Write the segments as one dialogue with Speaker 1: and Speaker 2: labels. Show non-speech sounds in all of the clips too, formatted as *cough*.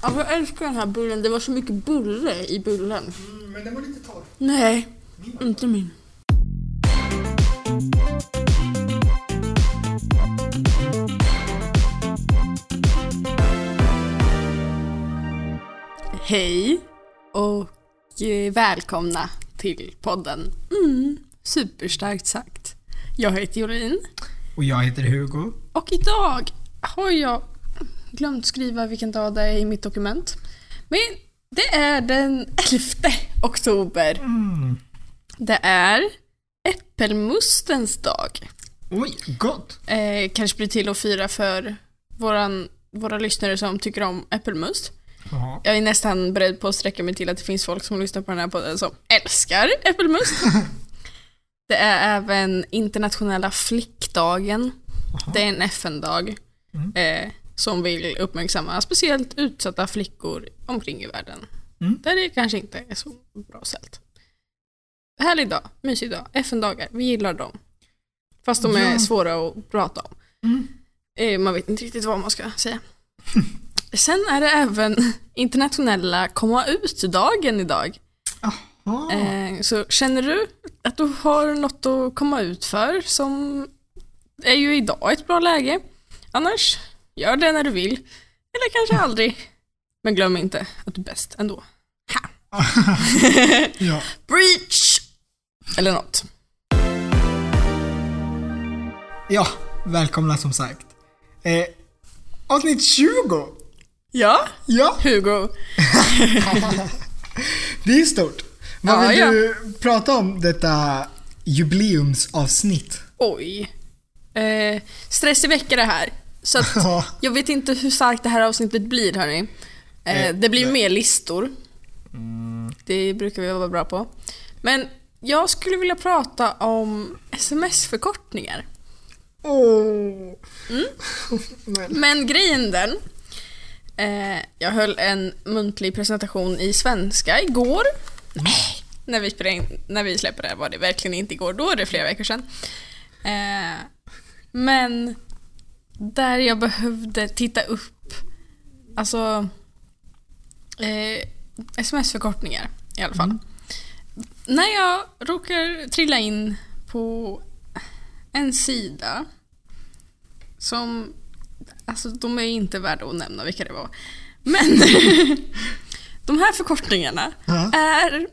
Speaker 1: Alltså, jag älskar den här bullen. Det var så mycket bulle i bullen.
Speaker 2: Mm, men den var lite torr.
Speaker 1: Nej,
Speaker 2: Min var-
Speaker 1: inte min. Hej och eh, välkomna till podden. Mm, superstarkt sagt. Jag heter Jolin.
Speaker 2: Och jag heter Hugo.
Speaker 1: Och idag har jag glömt skriva vilken dag det är i mitt dokument. Men det är den 11 oktober.
Speaker 2: Mm.
Speaker 1: Det är äppelmustens dag.
Speaker 2: Oj, gott!
Speaker 1: Eh, kanske blir till att fira för våran, våra lyssnare som tycker om äppelmust.
Speaker 2: Ja.
Speaker 1: Jag är nästan beredd på att sträcka mig till att det finns folk som lyssnar på den här podden som älskar äppelmust. det är även internationella flickdagen. Det är en FN-dag
Speaker 2: Mm.
Speaker 1: eh, som vill uppmärksamma speciellt utsatta flickor omkring i världen.
Speaker 2: Mm.
Speaker 1: Där det kanske inte är så bra ställt. Härlig dag, mysig dag, FN-dagar, vi gillar dem. Fast de är
Speaker 2: Ja.
Speaker 1: svåra att prata om.
Speaker 2: Mm.
Speaker 1: Eh, man vet inte riktigt vad man ska säga. *laughs* Sen är det även internationella komma ut-dagen idag.
Speaker 2: Jaha.
Speaker 1: Eh, så känner du att du har något att komma ut för som är ju idag ett bra läge. Annars, gör det när du vill. Eller kanske aldrig. Men glöm inte att du är bäst ändå. Ha.
Speaker 2: Ja.
Speaker 1: Breach! Eller något.
Speaker 2: ja, välkomna som sagt. Eh, avsnitt 20!
Speaker 1: Ja,
Speaker 2: Ja,
Speaker 1: Hugo.
Speaker 2: det är stort. Vad
Speaker 1: Ja,
Speaker 2: vill
Speaker 1: ja.
Speaker 2: du prata om detta jubileumsavsnitt?
Speaker 1: Oj. Eh, stressig vecka det här. Så att
Speaker 2: *laughs* Ja.
Speaker 1: jag vet inte hur starkt det här avsnittet blir hörni. Eh,
Speaker 2: Eh,
Speaker 1: det blir
Speaker 2: nej. Mm.
Speaker 1: mer listor. Det brukar vi vara bra på. Men jag skulle vilja prata om sms-förkortningar.
Speaker 2: Åh. Men-
Speaker 1: Men grejen den. Eh, jag höll en muntlig presentation i svenska igår.
Speaker 2: Mm.
Speaker 1: Nej, när, vi spelade in, när vi släpper det här var det verkligen inte igår, då är det flera veckor sedan. Eh, men där jag behövde titta upp, alltså eh, sms-förkortningar i alla fall. När jag råkar trilla in på en sida som Alltså de är inte värda att nämna vilka det var. Men *laughs* de här förkortningarna
Speaker 2: Ja.
Speaker 1: är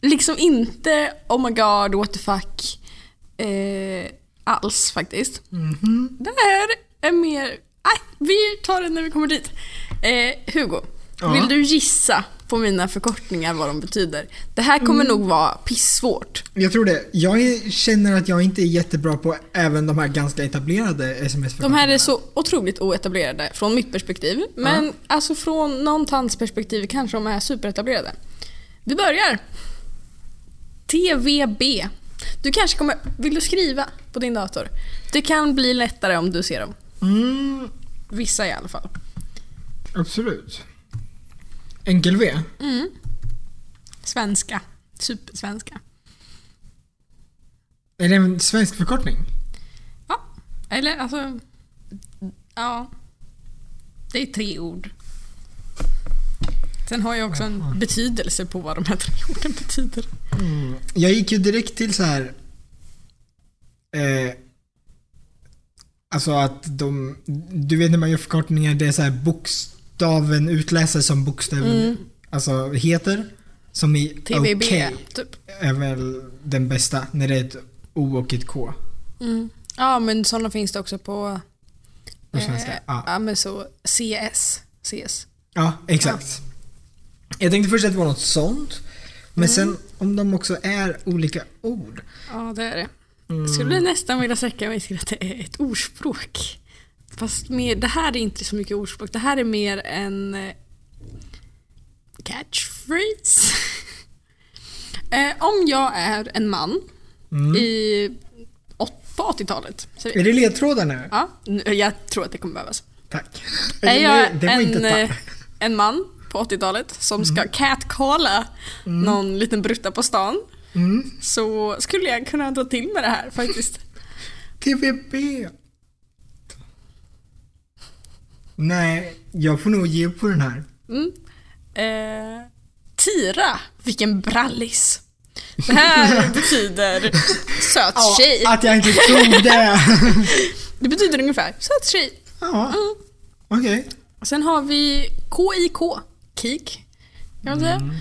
Speaker 1: liksom inte oh my god, what the fuck eh, alls faktiskt.
Speaker 2: Mhm.
Speaker 1: Det här är mer, nej vi tar det när vi kommer dit. Eh, Hugo,
Speaker 2: Ja.
Speaker 1: vill du gissa på mina förkortningar vad de betyder? Det här kommer nog vara pissvårt.
Speaker 2: *laughs* Jag tror det. Jag är, känner att jag inte är jättebra på även de här ganska etablerade sms
Speaker 1: De här är så otroligt oetablerade från mitt perspektiv. Men alltså från någon tants perspektiv kanske de är superetablerade. Vi börjar. TVB. Du kanske kommer... Vill du skriva på din dator? Det kan bli lättare om du ser dem.
Speaker 2: Mm,
Speaker 1: Vissa i alla fall.
Speaker 2: absolut. Enkel-V?
Speaker 1: Svenska. Supersvenska.
Speaker 2: Är det en svensk förkortning?
Speaker 1: Ja. Eller alltså... Ja. Det är tre ord. Sen har jag också en betydelse på vad de här tre orden betyder.
Speaker 2: Jag gick ju direkt till så här. Eh, alltså att de, du vet när man gör förkortningar, det är så här bokstaven utläses som bokstaven
Speaker 1: Mm.
Speaker 2: alltså heter. Som i
Speaker 1: TVB,
Speaker 2: okej
Speaker 1: typ.
Speaker 2: är väl den bästa, när det är ett O och ett K
Speaker 1: Ja, men sådana finns det också på...
Speaker 2: på svenska.
Speaker 1: Eh,
Speaker 2: Ja.
Speaker 1: ja, men så CS. CS.
Speaker 2: Ja, exakt. Jag tänkte först att det var något sånt. Men
Speaker 1: Mm.
Speaker 2: sen om de också är olika ord.
Speaker 1: Ja, det är det. Jag skulle nästan vilja sträcka mig till att det är ett ordspråk. Fast mer, det här är inte så mycket ordspråk. Det här är mer en eh, catchphrase. *laughs* eh, om jag är en man i, åt- på 80-talet. så-
Speaker 2: Är det ledtrådar nu?
Speaker 1: Ja, nu- jag tror att det kommer behövas.
Speaker 2: Tack.
Speaker 1: Är jag
Speaker 2: det var inte
Speaker 1: en,
Speaker 2: ett Mm.
Speaker 1: eh,
Speaker 2: tack.
Speaker 1: en man på 80-talet som ska catcalla någon liten brutta på stan
Speaker 2: Mm.
Speaker 1: så skulle jag kunna dra till med det här
Speaker 2: *laughs*
Speaker 1: faktiskt.
Speaker 2: TVB. Nej, jag får nog ge upp på den här.
Speaker 1: Mm. Eh, tira, vilken brallis. Det
Speaker 2: *laughs*
Speaker 1: här betyder söt
Speaker 2: Ja,
Speaker 1: tjej.
Speaker 2: att jag inte tog det.
Speaker 1: Det betyder ungefär söt tjej.
Speaker 2: ja,
Speaker 1: Mm.
Speaker 2: okej.
Speaker 1: Sen har vi KIK, KIK. Kan man säga.
Speaker 2: Mm.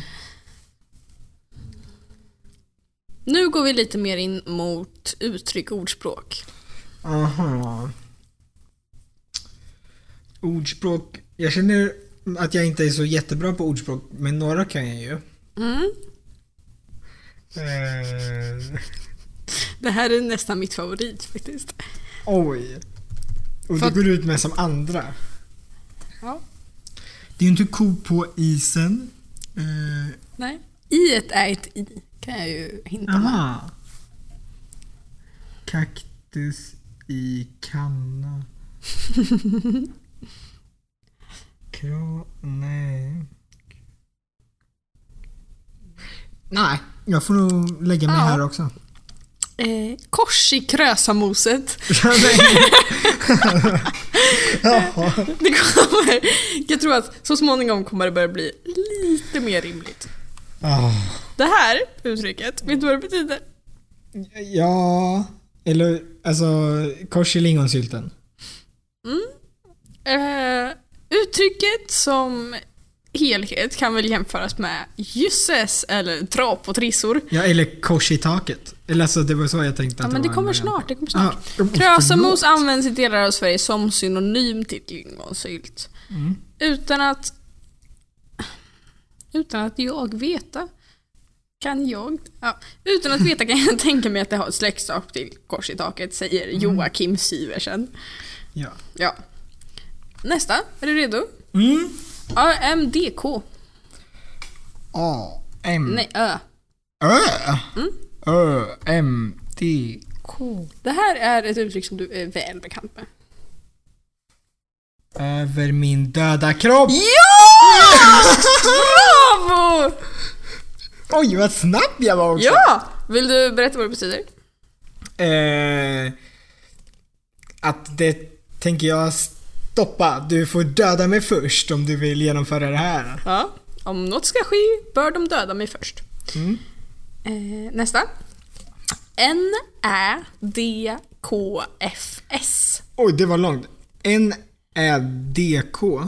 Speaker 1: Nu går vi lite mer in mot uttryck och ordspråk.
Speaker 2: Aha. Ordspråk. Jag känner att jag inte är så jättebra på ordspråk, men några kan jag ju.
Speaker 1: Mm.
Speaker 2: Eh,
Speaker 1: Det här är nästan mitt favorit faktiskt.
Speaker 2: oj. Och
Speaker 1: För-
Speaker 2: det går ut med som andra.
Speaker 1: Ja.
Speaker 2: Det är ju inte ko på isen. Eh,
Speaker 1: Nej. I ett är ett i, kan jag ju hinta med.
Speaker 2: aha. Kaktus i *laughs* kanna. Kro... Nej. Nej, jag får nog lägga mig
Speaker 1: Ja.
Speaker 2: här *laughs* också.
Speaker 1: Eh, kors i Krösamoset.
Speaker 2: Jaha.
Speaker 1: Det kommer, jag tror att så småningom kommer det börja bli lite mer rimligt.
Speaker 2: Ah.
Speaker 1: Det här uttrycket, vet du vad det betyder?
Speaker 2: Ja, eller alltså kors i lingonsylten.
Speaker 1: Eh, uttrycket som helhet kan väl jämföras med jösses eller dra på trissor.
Speaker 2: Ja, eller kors i taket. Eller alltså det var så jag tänkte
Speaker 1: Ja,
Speaker 2: att
Speaker 1: men det
Speaker 2: var
Speaker 1: kommer
Speaker 2: en
Speaker 1: snart, det kommer snart.
Speaker 2: variant. Ah, oh,
Speaker 1: Krösamos
Speaker 2: förlåt.
Speaker 1: används i delar av Sverige som synonym till lingonsylt.
Speaker 2: Mm.
Speaker 1: Utan att... Utan att jag veta kan jag... Ja, utan att veta kan jag *laughs* tänka mig att det har ett släktskap till kors i taket, säger
Speaker 2: Mm.
Speaker 1: Joakim Syversen.
Speaker 2: Ja.
Speaker 1: Ja. Nästa, är du redo?
Speaker 2: Mm.
Speaker 1: AMDK.
Speaker 2: A. M.
Speaker 1: Nej, Ö.
Speaker 2: Ö. Ö. M. T. K.
Speaker 1: Det här är ett uttryck som du är väl bekant med.
Speaker 2: Över min döda kropp.
Speaker 1: Ja! *laughs* Bravo!
Speaker 2: Oj, vad snabb jag var också.
Speaker 1: Ja! Vill du berätta vad det betyder?
Speaker 2: Eh, att det tänker jag stoppa. Du får döda mig först om du vill genomföra det här.
Speaker 1: Ja. Om något ska ske bör de döda mig först.
Speaker 2: Mm.
Speaker 1: Eh, nästa. N, Ä, D, K, F, S.
Speaker 2: Oj, det var långt. N Ä D K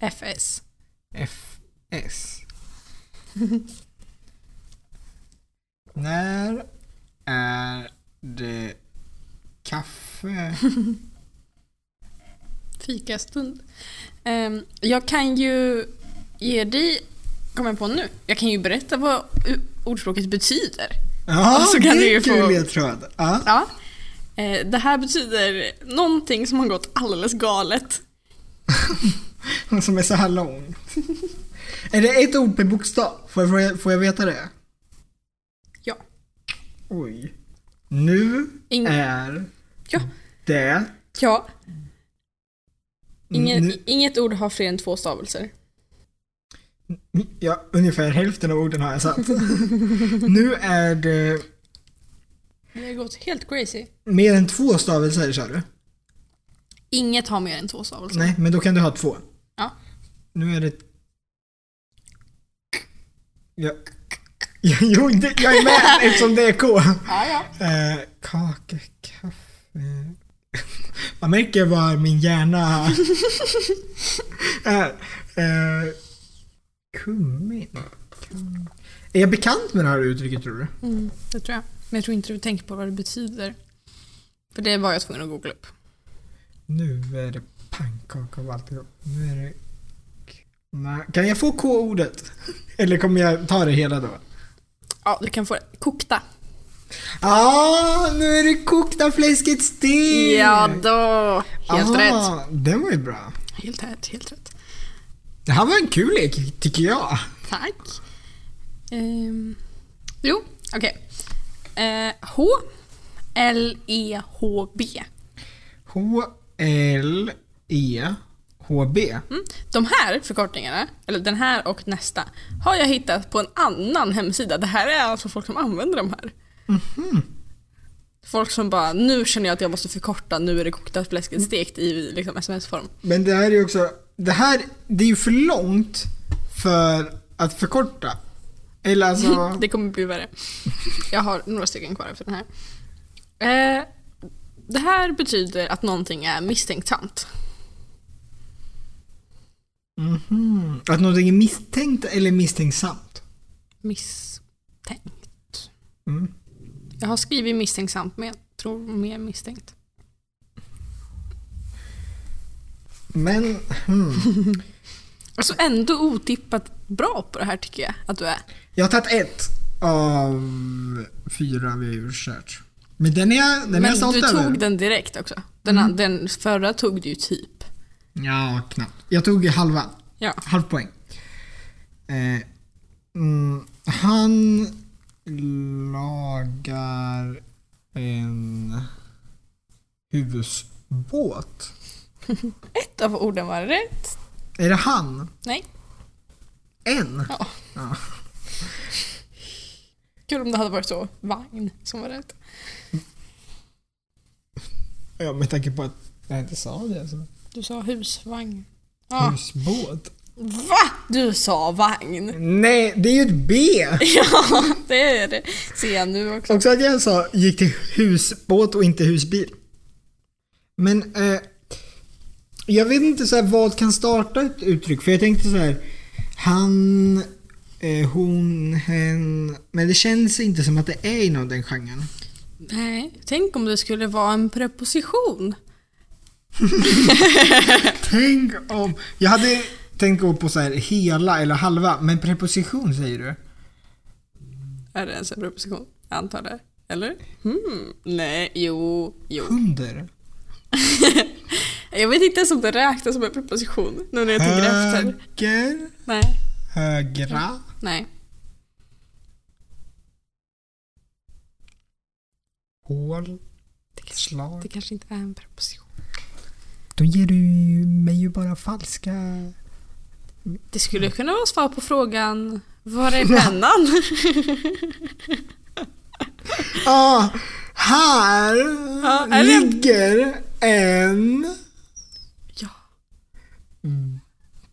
Speaker 1: F, S.
Speaker 2: F S. *laughs* När är det kaffe?
Speaker 1: Fikastund. Ehm, jag kan ju ge dig, kommer jag på nu, jag kan ju berätta vad u- ordspråket betyder.
Speaker 2: Ja,
Speaker 1: Och så
Speaker 2: det
Speaker 1: kan du
Speaker 2: är
Speaker 1: ju
Speaker 2: en
Speaker 1: få-
Speaker 2: kul ledtråd. Ja. *laughs*
Speaker 1: Ja. Eh, det här betyder någonting som har gått alldeles galet.
Speaker 2: Som är så här lång. *laughs* är det ett ord per bokstav? Får jag, får jag, får jag veta det?
Speaker 1: Ja.
Speaker 2: Oj. Nu
Speaker 1: Ing-
Speaker 2: är
Speaker 1: Ja.
Speaker 2: det...
Speaker 1: Ja, ingen,
Speaker 2: Nu,
Speaker 1: inget ord har fler än två stavelser.
Speaker 2: ja, ungefär hälften av orden har jag satt. *laughs* nu är det
Speaker 1: Det har gått helt crazy.
Speaker 2: mer än två stavelser sa du?
Speaker 1: Inget har mer än två stavelser.
Speaker 2: Nej, men då kan du ha två.
Speaker 1: Ja.
Speaker 2: Nu är det... Ja. *laughs* Jo, det- jag är med eftersom det är K.
Speaker 1: Ja, ja.
Speaker 2: Eh, kaka, kaffe. *laughs* Man märker vad
Speaker 1: *laughs*
Speaker 2: min hjärna är. Eh, kummin. Kum- Är jag bekant med det här uttrycket tror du?
Speaker 1: Mm, det tror jag. Men jag tror inte du tänker på vad det betyder. För det var jag tvungen att googla upp.
Speaker 2: Nu är det pannkaka av alltihop. Nu är det... Nej. Kan jag få K-ordet? *laughs* Eller kommer jag ta det hela då?
Speaker 1: Ja, du kan få det. Kokta.
Speaker 2: Ah, nu är det kokta fläsket stek!
Speaker 1: Ja då. Helt rätt.
Speaker 2: Den var ju bra.
Speaker 1: Helt rätt, helt rätt.
Speaker 2: Det här var en kul lek, tycker jag.
Speaker 1: Tack. Ehm, jo, okej. Eh, H, L, E, H, B.
Speaker 2: E H-L-E-H-B.
Speaker 1: Mm. De här förkortningarna, eller den här och nästa, har jag hittat på en annan hemsida. Det här är alltså folk som använder de här. Folk som bara, nu känner jag att jag måste förkorta, nu är det kokta fläsket stekt i liksom, sms-form.
Speaker 2: Men det här är ju också det här, det är ju för långt för att förkorta.
Speaker 1: *laughs*
Speaker 2: Eller alltså,
Speaker 1: Det kommer bli värre. Jag har några stycken kvar efter den här. Eh, det här betyder att någonting är misstänksamt.
Speaker 2: mhm. att någonting är misstänkt eller misstänksamt.
Speaker 1: Misstänkt.
Speaker 2: Mm.
Speaker 1: Jag har skrivit misstänksamt men jag tror mer misstänkt.
Speaker 2: Men, hmm.
Speaker 1: Alltså ändå otippat bra på det här tycker jag att du är.
Speaker 2: Jag har tagit ett av fyra vi har gjort kört. Men den är jag, den är jag
Speaker 1: Men
Speaker 2: stolt
Speaker 1: du
Speaker 2: över.
Speaker 1: tog den direkt också. Den, den förra tog du ju typ.
Speaker 2: Ja, knappt. Jag tog halva.
Speaker 1: Ja.
Speaker 2: Halv poäng. Eh, mm, han lagar en husbåt.
Speaker 1: Ett av orden var rätt.
Speaker 2: Är det han?
Speaker 1: Nej.
Speaker 2: En?
Speaker 1: Ja.
Speaker 2: Ja.
Speaker 1: Kul om det hade varit så vagn som var rätt.
Speaker 2: ja med tanke på att jag inte sa det. Alltså.
Speaker 1: Du sa husvagn. Ja.
Speaker 2: Husbåt?
Speaker 1: Va? Du sa vagn. *laughs*
Speaker 2: Nej, det är ju ett B!
Speaker 1: Ja, det är det. Ser jag nu också.
Speaker 2: Också att jag sa gick till husbåt och inte husbil. Men eh, jag vet inte så här, vad kan starta ett uttryck. För jag tänkte så här. Han, eh, hon, hen. Men det känns inte som att det är inom den genren.
Speaker 1: Nej, tänk om det skulle vara en preposition.
Speaker 2: Tänk om... Jag hade tänkt gå på så här hela eller halva. Men preposition säger du?
Speaker 1: Är det ens en preposition? Jag antar det. Eller? Hmm. Nej, jo, jo.
Speaker 2: Under?
Speaker 1: Jag vet inte ens om det räknas som en preposition nu när jag tänker efter.
Speaker 2: Höger?
Speaker 1: Nej,
Speaker 2: Högra?
Speaker 1: nej.
Speaker 2: Hål?
Speaker 1: Det kanske,
Speaker 2: Slag?
Speaker 1: det kanske inte är en preposition.
Speaker 2: Då ger du ju mig ju bara falska...
Speaker 1: Det skulle kunna vara svar på frågan var är pennan?
Speaker 2: Ja, här
Speaker 1: Ja, är det-
Speaker 2: ligger en... Mm.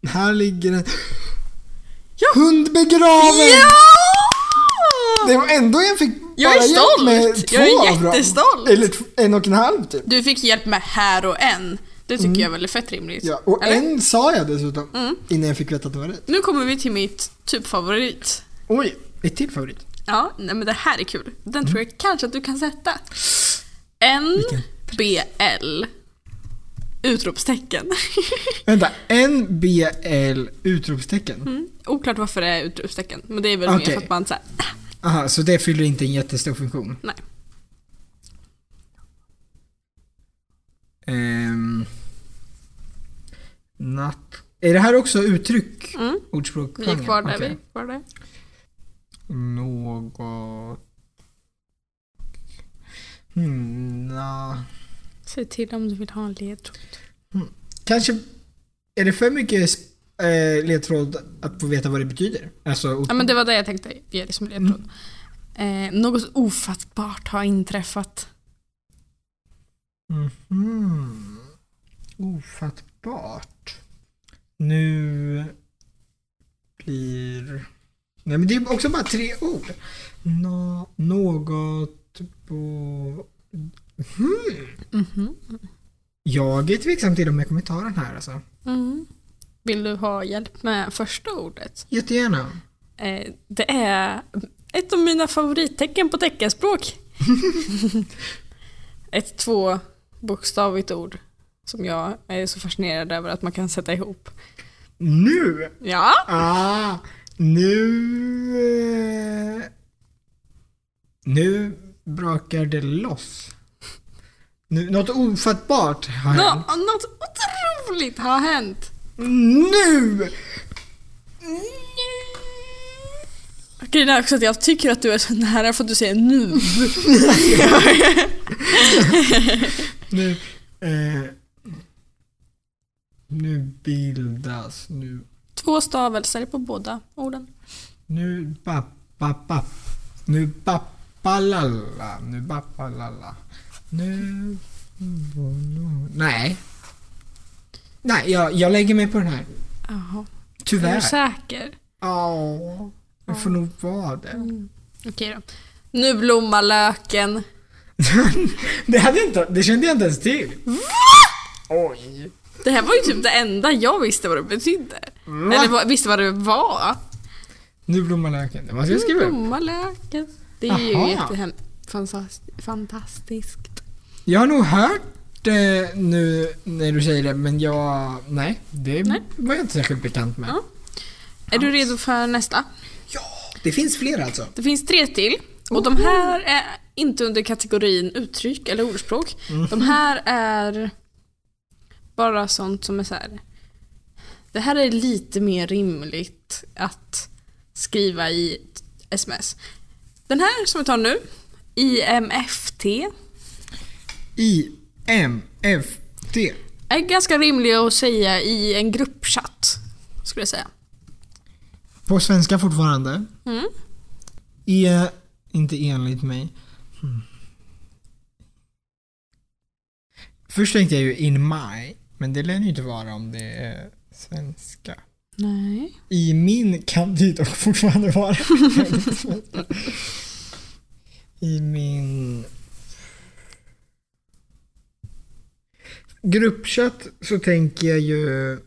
Speaker 1: ja.
Speaker 2: Här ligger en...
Speaker 1: Ja. *laughs*
Speaker 2: Hund begraven!
Speaker 1: ja!
Speaker 2: Det var ändå jag fick
Speaker 1: Jag är
Speaker 2: bara
Speaker 1: stolt!
Speaker 2: hjälp med två
Speaker 1: Jag är
Speaker 2: av dem.
Speaker 1: jättestolt!
Speaker 2: Eller tw- en och en halv typ.
Speaker 1: Du fick hjälp med här och en. Det tycker jag är väldigt fett rimligt.
Speaker 2: Mm. Ja, och
Speaker 1: Eller? Mm.
Speaker 2: en sa jag dessutom. Innan jag fick veta att det var rätt.
Speaker 1: Nu kommer vi till mitt typ favorit.
Speaker 2: Oj, ett till favorit.
Speaker 1: Ja, nej men det här är kul. Den
Speaker 2: Mm.
Speaker 1: tror jag kanske att du kan sätta. NBL Utropstecken. *laughs*
Speaker 2: Vänta, en BL utropstecken.
Speaker 1: Mm. Oklart varför det är utropstecken, men det är väl mer
Speaker 2: Okej.
Speaker 1: för att man såhär,
Speaker 2: Aha, så det fyller inte en jättestor funktion.
Speaker 1: nej.
Speaker 2: Ehm, natt. Är det här också uttryck?
Speaker 1: Mm.
Speaker 2: Ordspråk?
Speaker 1: Vi är kvar där
Speaker 2: Okej.
Speaker 1: vi var där.
Speaker 2: Något... Hmm, na.
Speaker 1: Säg till om du vill ha en ledtråd.
Speaker 2: Kanske... Är det för mycket eh, ledtråd att få veta vad det betyder? Alltså,
Speaker 1: Ja men det var det jag tänkte ge dig som ledtråd. Eh, något ofattbart har inträffat.
Speaker 2: Mhm. Ofattbart. Nu blir... Nej men det är också bara tre ord. Nå, något på...
Speaker 1: Mhm.
Speaker 2: Jag är tveksam till om jag kommer ta den här alltså.
Speaker 1: Mhm. Vill du ha hjälp med första ordet?
Speaker 2: Jättegärna.
Speaker 1: Eh, det är ett av mina favorittecken på teckenspråk. *laughs* ett tvåbokstavigt ord som jag är så fascinerad över att man kan sätta ihop.
Speaker 2: Nu!
Speaker 1: Ja,
Speaker 2: Ah, nu... eh, Nu brakar det loss. Nu, något ofattbart har hänt.
Speaker 1: nå- något otroligt har hänt.
Speaker 2: Nu!
Speaker 1: Grejen är också att jag tycker att du är så nära för att du säger nu.
Speaker 2: Nu, eh, nu bildas, nu,
Speaker 1: Två stavelser på båda orden.
Speaker 2: nu pappa, nu pappalalla, nu pappalalla. Nu... Nej. Nej, jag, jag lägger mig på den här.
Speaker 1: Jaha. Är du
Speaker 2: Tyvärr.
Speaker 1: säker? Mm.
Speaker 2: Ja, jag får nog vara det. *laughs*
Speaker 1: Okej då. Nu blommar löken.
Speaker 2: det, hade jag inte, det kände jag inte ens till. Oj.
Speaker 1: Det här var ju typ det enda jag visste vad det betydde. Eller vad, visste vad det var.
Speaker 2: Nu blommar löken. Det måste jag skriva upp.
Speaker 1: Blomma löken. Det är ju
Speaker 2: Aha.
Speaker 1: jättefantastiskt. Fantastiskt.
Speaker 2: Jag har nog hört eh, nu när du säger det, men jag... Nej, det
Speaker 1: Nej.
Speaker 2: var jag inte särskilt bekant med.
Speaker 1: Ja. Är du redo för nästa?
Speaker 2: Ja, det finns fler alltså.
Speaker 1: Det finns tre till. Och de här är inte under kategorin uttryck eller ordspråk. De här är bara sånt som är så här. Det här är lite mer rimligt att skriva i sms. Den här som vi tar nu, IMFT,
Speaker 2: I, M, F, T.
Speaker 1: är ganska rimlig att säga i en gruppchatt. Skulle jag säga.
Speaker 2: På svenska fortfarande.
Speaker 1: Mm.
Speaker 2: E, inte enligt mig. Mm. Först tänkte jag ju in my, men det lär ju inte vara om det är svenska.
Speaker 1: Nej.
Speaker 2: I min kan *laughs* det dock fortfarande vara. I min... Gruppchatt så tänker jag ju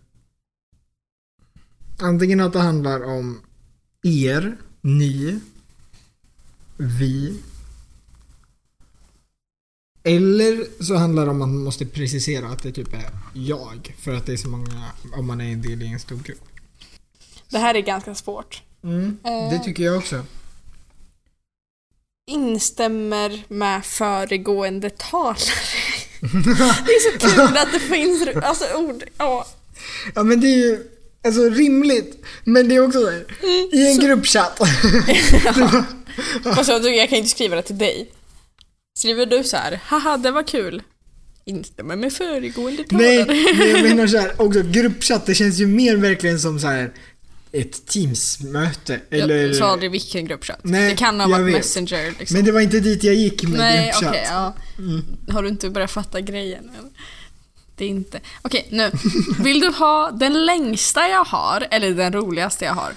Speaker 2: antingen att det handlar om er, ni, vi. Eller så handlar det om att man måste precisera att det typ är jag. För att det är så många, om man är en del i en stor grupp.
Speaker 1: Det här är ganska svårt.
Speaker 2: Mm, det
Speaker 1: Eh.
Speaker 2: tycker jag också.
Speaker 1: instämmer med föregående talare. *laughs* det är så kul att det finns ru- alltså, ord. Ja.
Speaker 2: Ja men det är ju alltså, rimligt, men det är också så här, i
Speaker 1: *laughs*
Speaker 2: en gruppchatt.
Speaker 1: Fast jag, jag kan ju inte skriva det till dig. Skriver du så här, haha det var kul. Instämmer med föregående
Speaker 2: Nej,
Speaker 1: talare.
Speaker 2: men jag menar så här, också gruppchatt, det känns ju mer verkligen som så här ett teamsmöte. *laughs* Eller,
Speaker 1: Jag sa aldrig vilken gruppchatt.
Speaker 2: Nej,
Speaker 1: det kan ha
Speaker 2: jag
Speaker 1: varit
Speaker 2: vet.
Speaker 1: Messenger liksom.
Speaker 2: men det var inte dit jag gick med
Speaker 1: Nej, okej.
Speaker 2: gruppchatt. Mm.
Speaker 1: ja. Har du inte börjat fatta grejen? än? Det är inte... Okej, nu. Vill du ha den längsta jag har eller den roligaste jag har?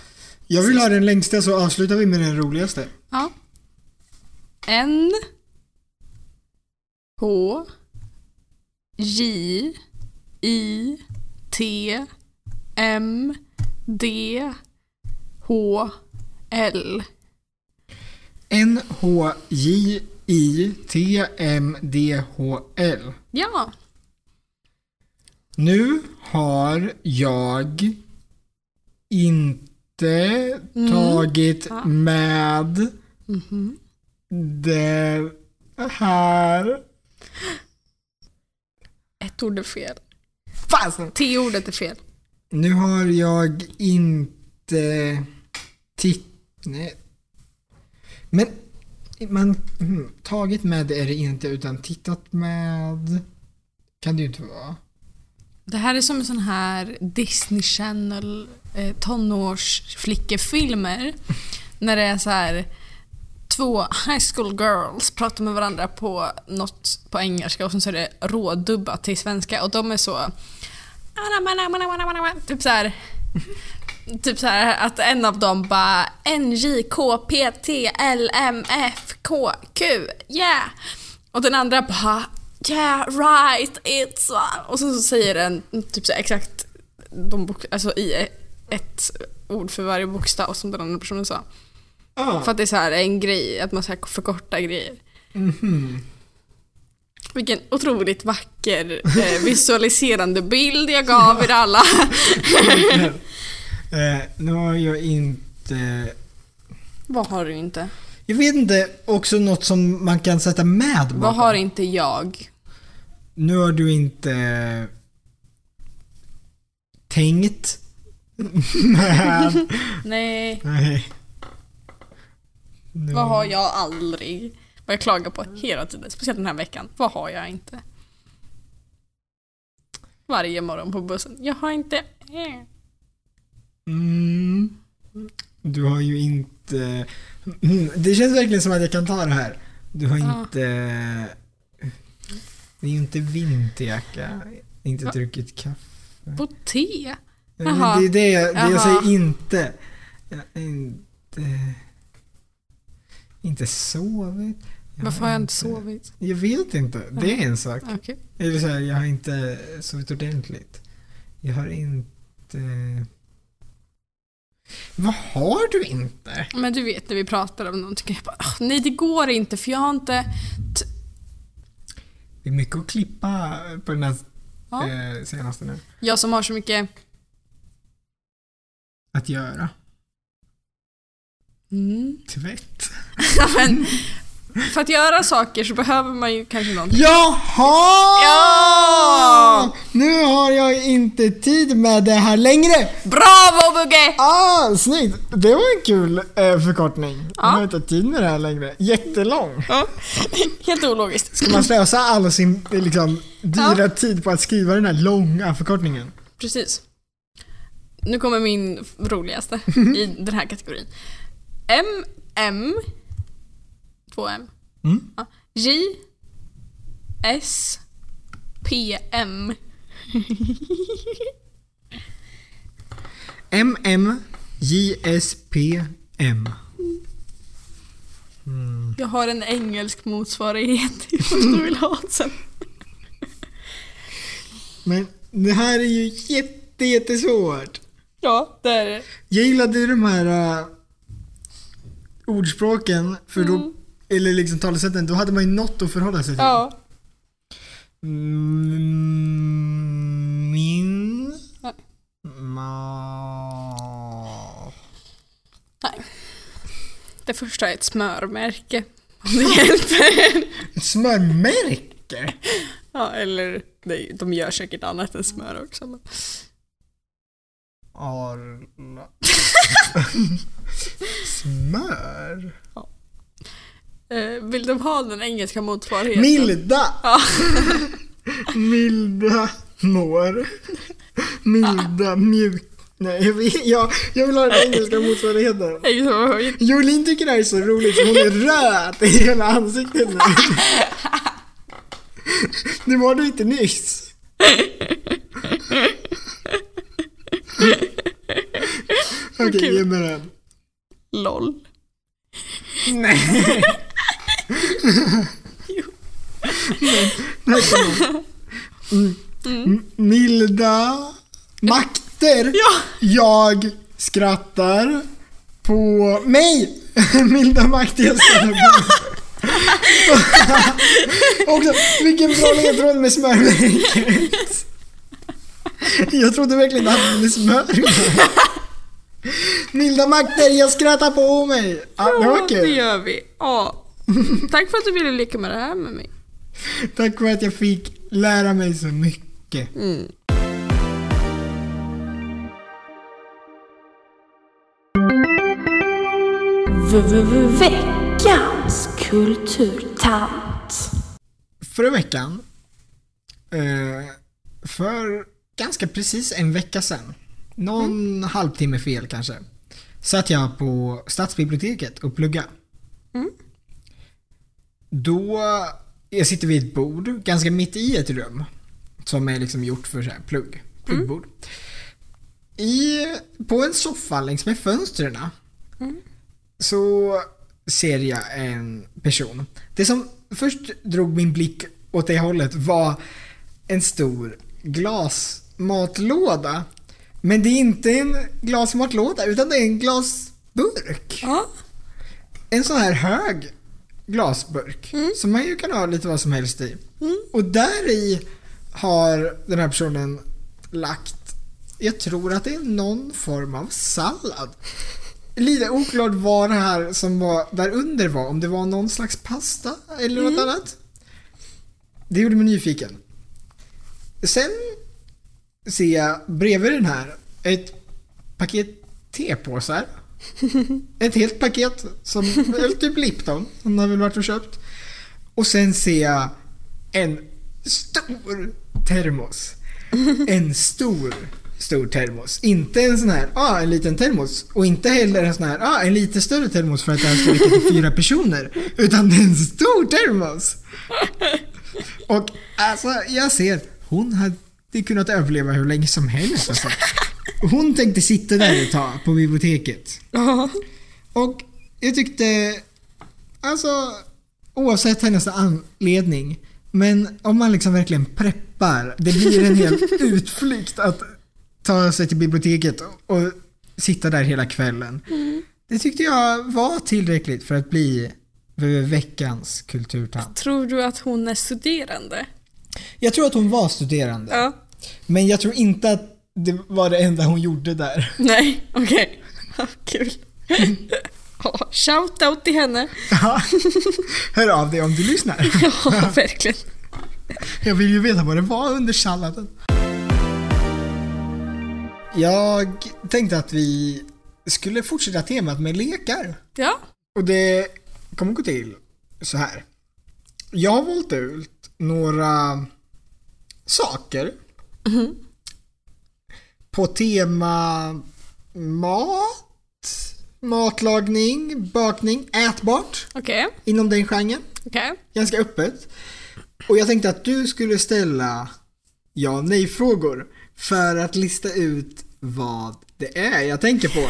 Speaker 2: Jag vill ha den längsta så avslutar vi med den roligaste.
Speaker 1: Ja. N. H. J. I. T. M. D. H. L.
Speaker 2: N, H, J, I, T, M, D, H, L.
Speaker 1: Ja.
Speaker 2: Nu har jag inte tagit med det här.
Speaker 1: Ett ord är fel.
Speaker 2: Fasen!
Speaker 1: T-ordet är fel.
Speaker 2: Nu har jag inte titt... Nej. Men man, mm, tagit med det är det inte utan tittat med kan det ju inte vara.
Speaker 1: Det här är som en sån här Disney Channel eh, tonårsflickefilmer. När det är så här två high school girls pratar med varandra på något på engelska och sen så är det rådubbat till svenska och de är så... Typ så här... Typ så här att en av dem bara NJKPTLMFKQ, yeah! Och den andra bara yeah right it's... a-" Och sen så säger den typ så här, exakt de bok- alltså i ett ord för varje bokstav som den andra personen sa.
Speaker 2: Ah.
Speaker 1: För att det är så här en grej, att man så här förkortar grejer.
Speaker 2: Mm-hmm.
Speaker 1: Vilken otroligt vacker *laughs* eh, visualiserande bild jag gav er alla.
Speaker 2: Eh, nu har jag inte
Speaker 1: Vad har du inte?
Speaker 2: Jag vet inte, också något som man kan sätta med bakom.
Speaker 1: Vad har inte jag?
Speaker 2: Nu har du inte eh, tänkt *laughs* med...
Speaker 1: Nej,
Speaker 2: Nej. Nu-
Speaker 1: vad har jag aldrig? Vad jag klagar på hela tiden, speciellt den här veckan. Vad har jag inte? Varje morgon på bussen. Jag har inte... eh.
Speaker 2: Mm. Du har ju inte... Mm, Det känns verkligen som att jag kan ta det här. Du har
Speaker 1: Ja.
Speaker 2: inte... Det är ju inte vinterjacka. Inte
Speaker 1: Va?
Speaker 2: druckit kaffe.
Speaker 1: På T?
Speaker 2: Nej, Eh, men
Speaker 1: Jaha.
Speaker 2: Det är det, jag- det
Speaker 1: Jaha.
Speaker 2: jag säger inte. Jag, inte. Inte sovit. Jag
Speaker 1: Varför har jag inte sovit?
Speaker 2: Jag vet inte. Det är en sak.
Speaker 1: Okej.
Speaker 2: Eller så här, jag har inte sovit ordentligt. Jag har inte... Vad har du inte?
Speaker 1: Men du vet när vi pratar om någonting, jag bara, "Ah, nej det går inte för jag har inte... T-
Speaker 2: Det är mycket att klippa på den här
Speaker 1: ja.
Speaker 2: eh, senaste nu.
Speaker 1: Jag som har så mycket... *laughs*
Speaker 2: Att göra.
Speaker 1: Mm.
Speaker 2: Tvätt.
Speaker 1: Ja, men, för att göra saker så behöver man ju kanske någonting.
Speaker 2: Jaha!
Speaker 1: Ja!
Speaker 2: Nu har jag inte tid med det här längre!
Speaker 1: Bravo Bugge!
Speaker 2: Ah, snyggt! Det var en kul eh, förkortning.
Speaker 1: Ja.
Speaker 2: Jag har inte tid med det här längre. Jättelång.
Speaker 1: *laughs* Helt ologiskt.
Speaker 2: Ska man slösa all sin eh, liksom, dyra tid på att skriva den här långa förkortningen?
Speaker 1: Precis. Nu kommer min roligaste *laughs* i den här kategorin. M, M, 2M,
Speaker 2: Mm.
Speaker 1: ja. J, S, P, M.
Speaker 2: MMJSPM.
Speaker 1: Jag har en engelsk motsvarighet om du vill ha sen.
Speaker 2: Men det här är ju jätte, jättesvårt.
Speaker 1: Ja, det är det.
Speaker 2: Jag gillade ju de här eh, ordspråken, för då, eller liksom talesätten, då hade man ju något att förhålla sig till.
Speaker 1: Mm. Ja.
Speaker 2: Mm, Min...
Speaker 1: Nej.
Speaker 2: Ma...
Speaker 1: Nej. Det första är ett smörmärke. Om det hjälper.
Speaker 2: Ett smörmärke?
Speaker 1: Ja, eller nej, de gör säkert annat än smör också. men- *laughs*
Speaker 2: Arla... Smör?
Speaker 1: Eh, vill de ha den engelska motsvarigheten?
Speaker 2: Milda!
Speaker 1: Ja.
Speaker 2: *laughs* Milda mår. Milda mjuk... Nej, jag vill, jag, jag vill ha den engelska motsvarigheten.
Speaker 1: Exakt.
Speaker 2: Jolin tycker det här är så roligt så hon är röd i hela ansiktet nu. Det var du inte nyss. Okej,
Speaker 1: kul.
Speaker 2: ge mig den.
Speaker 1: LOL.
Speaker 2: Nej. Nej, kom igen. Mm. Milda makter.
Speaker 1: *laughs* Ja!
Speaker 2: Jag skrattar på mig. *laughs* Milda makter jag skrattar på. *laughs* Också, vilken bra ledtråd med smörmärket. *laughs* Jag trodde verkligen inte att det hade
Speaker 1: *laughs*
Speaker 2: smör. Milda makter, jag skrattar på mig. Ja, det var
Speaker 1: det
Speaker 2: kul.
Speaker 1: gör vi.
Speaker 2: *laughs*
Speaker 1: Ja. Tack för att du ville leka med det här med mig.
Speaker 2: Tack för att jag fick lära mig så mycket.
Speaker 3: Veckans kulturtant.
Speaker 2: Förra veckan, eh, för ganska precis en vecka sedan, någon halvtimme fel kanske, satt jag på stadsbiblioteket och plugga. Då, jag sitter vid ett bord, ganska mitt i ett rum, som är liksom gjort för så här plugg, pluggbord. I, på en soffa längs med fönstren så ser jag en person. Det som först drog min blick åt det hållet var en stor glasmatlåda. Men det är inte en glasmatlåda utan det är en glasburk.
Speaker 1: Ja.
Speaker 2: En sån här hög glasburk som man ju kan ha lite vad som helst i. Och där i har den här personen lagt, jag tror att det är någon form av sallad. Lite oklart vad det här som var där under var, om det var någon slags pasta eller något annat. Det gjorde mig nyfiken. Sen ser jag bredvid den här ett paket tepåsar. Ett helt paket, som, eller typ Lipton, som har väl varit och köpt. Och sen ser jag en stor termos. En stor, stor termos. Inte en sån här, ah, en liten termos. Och inte heller en sån här, ah, en lite större termos för att det här ska räcka till fyra personer. Utan det är en stor termos. Och alltså, jag ser, hon har hade kunnat överleva hur länge som helst alltså. Hon tänkte sitta där ett tag på biblioteket.
Speaker 1: Ja.
Speaker 2: Och jag tyckte, alltså oavsett hennes anledning, men om man liksom verkligen preppar, det blir en hel utflykt att ta sig till biblioteket och sitta där hela kvällen. Det tyckte jag var tillräckligt för att bli veckans kulturtant.
Speaker 1: Tror du att hon är studerande?
Speaker 2: Jag tror att hon var studerande,
Speaker 1: Ja.
Speaker 2: men jag tror inte att det var det enda hon gjorde där.
Speaker 1: Nej, okej. Ja, Kul. *laughs* Ja, shout out till henne.
Speaker 2: *laughs* Ja. Hör av dig om du lyssnar.
Speaker 1: *laughs* Ja, verkligen.
Speaker 2: Jag vill ju veta vad det var under salladen. Jag tänkte att vi skulle fortsätta temat med lekar.
Speaker 1: Ja.
Speaker 2: Och det kommer gå till så här. Jag har valt ut några saker. På tema mat, matlagning, bakning, ätbart
Speaker 1: Okej.
Speaker 2: inom den genren
Speaker 1: Okej.
Speaker 2: ganska öppet. Och jag tänkte att du skulle ställa ja och nej-frågor för att lista ut vad det är jag
Speaker 1: *laughs*
Speaker 2: tänker på.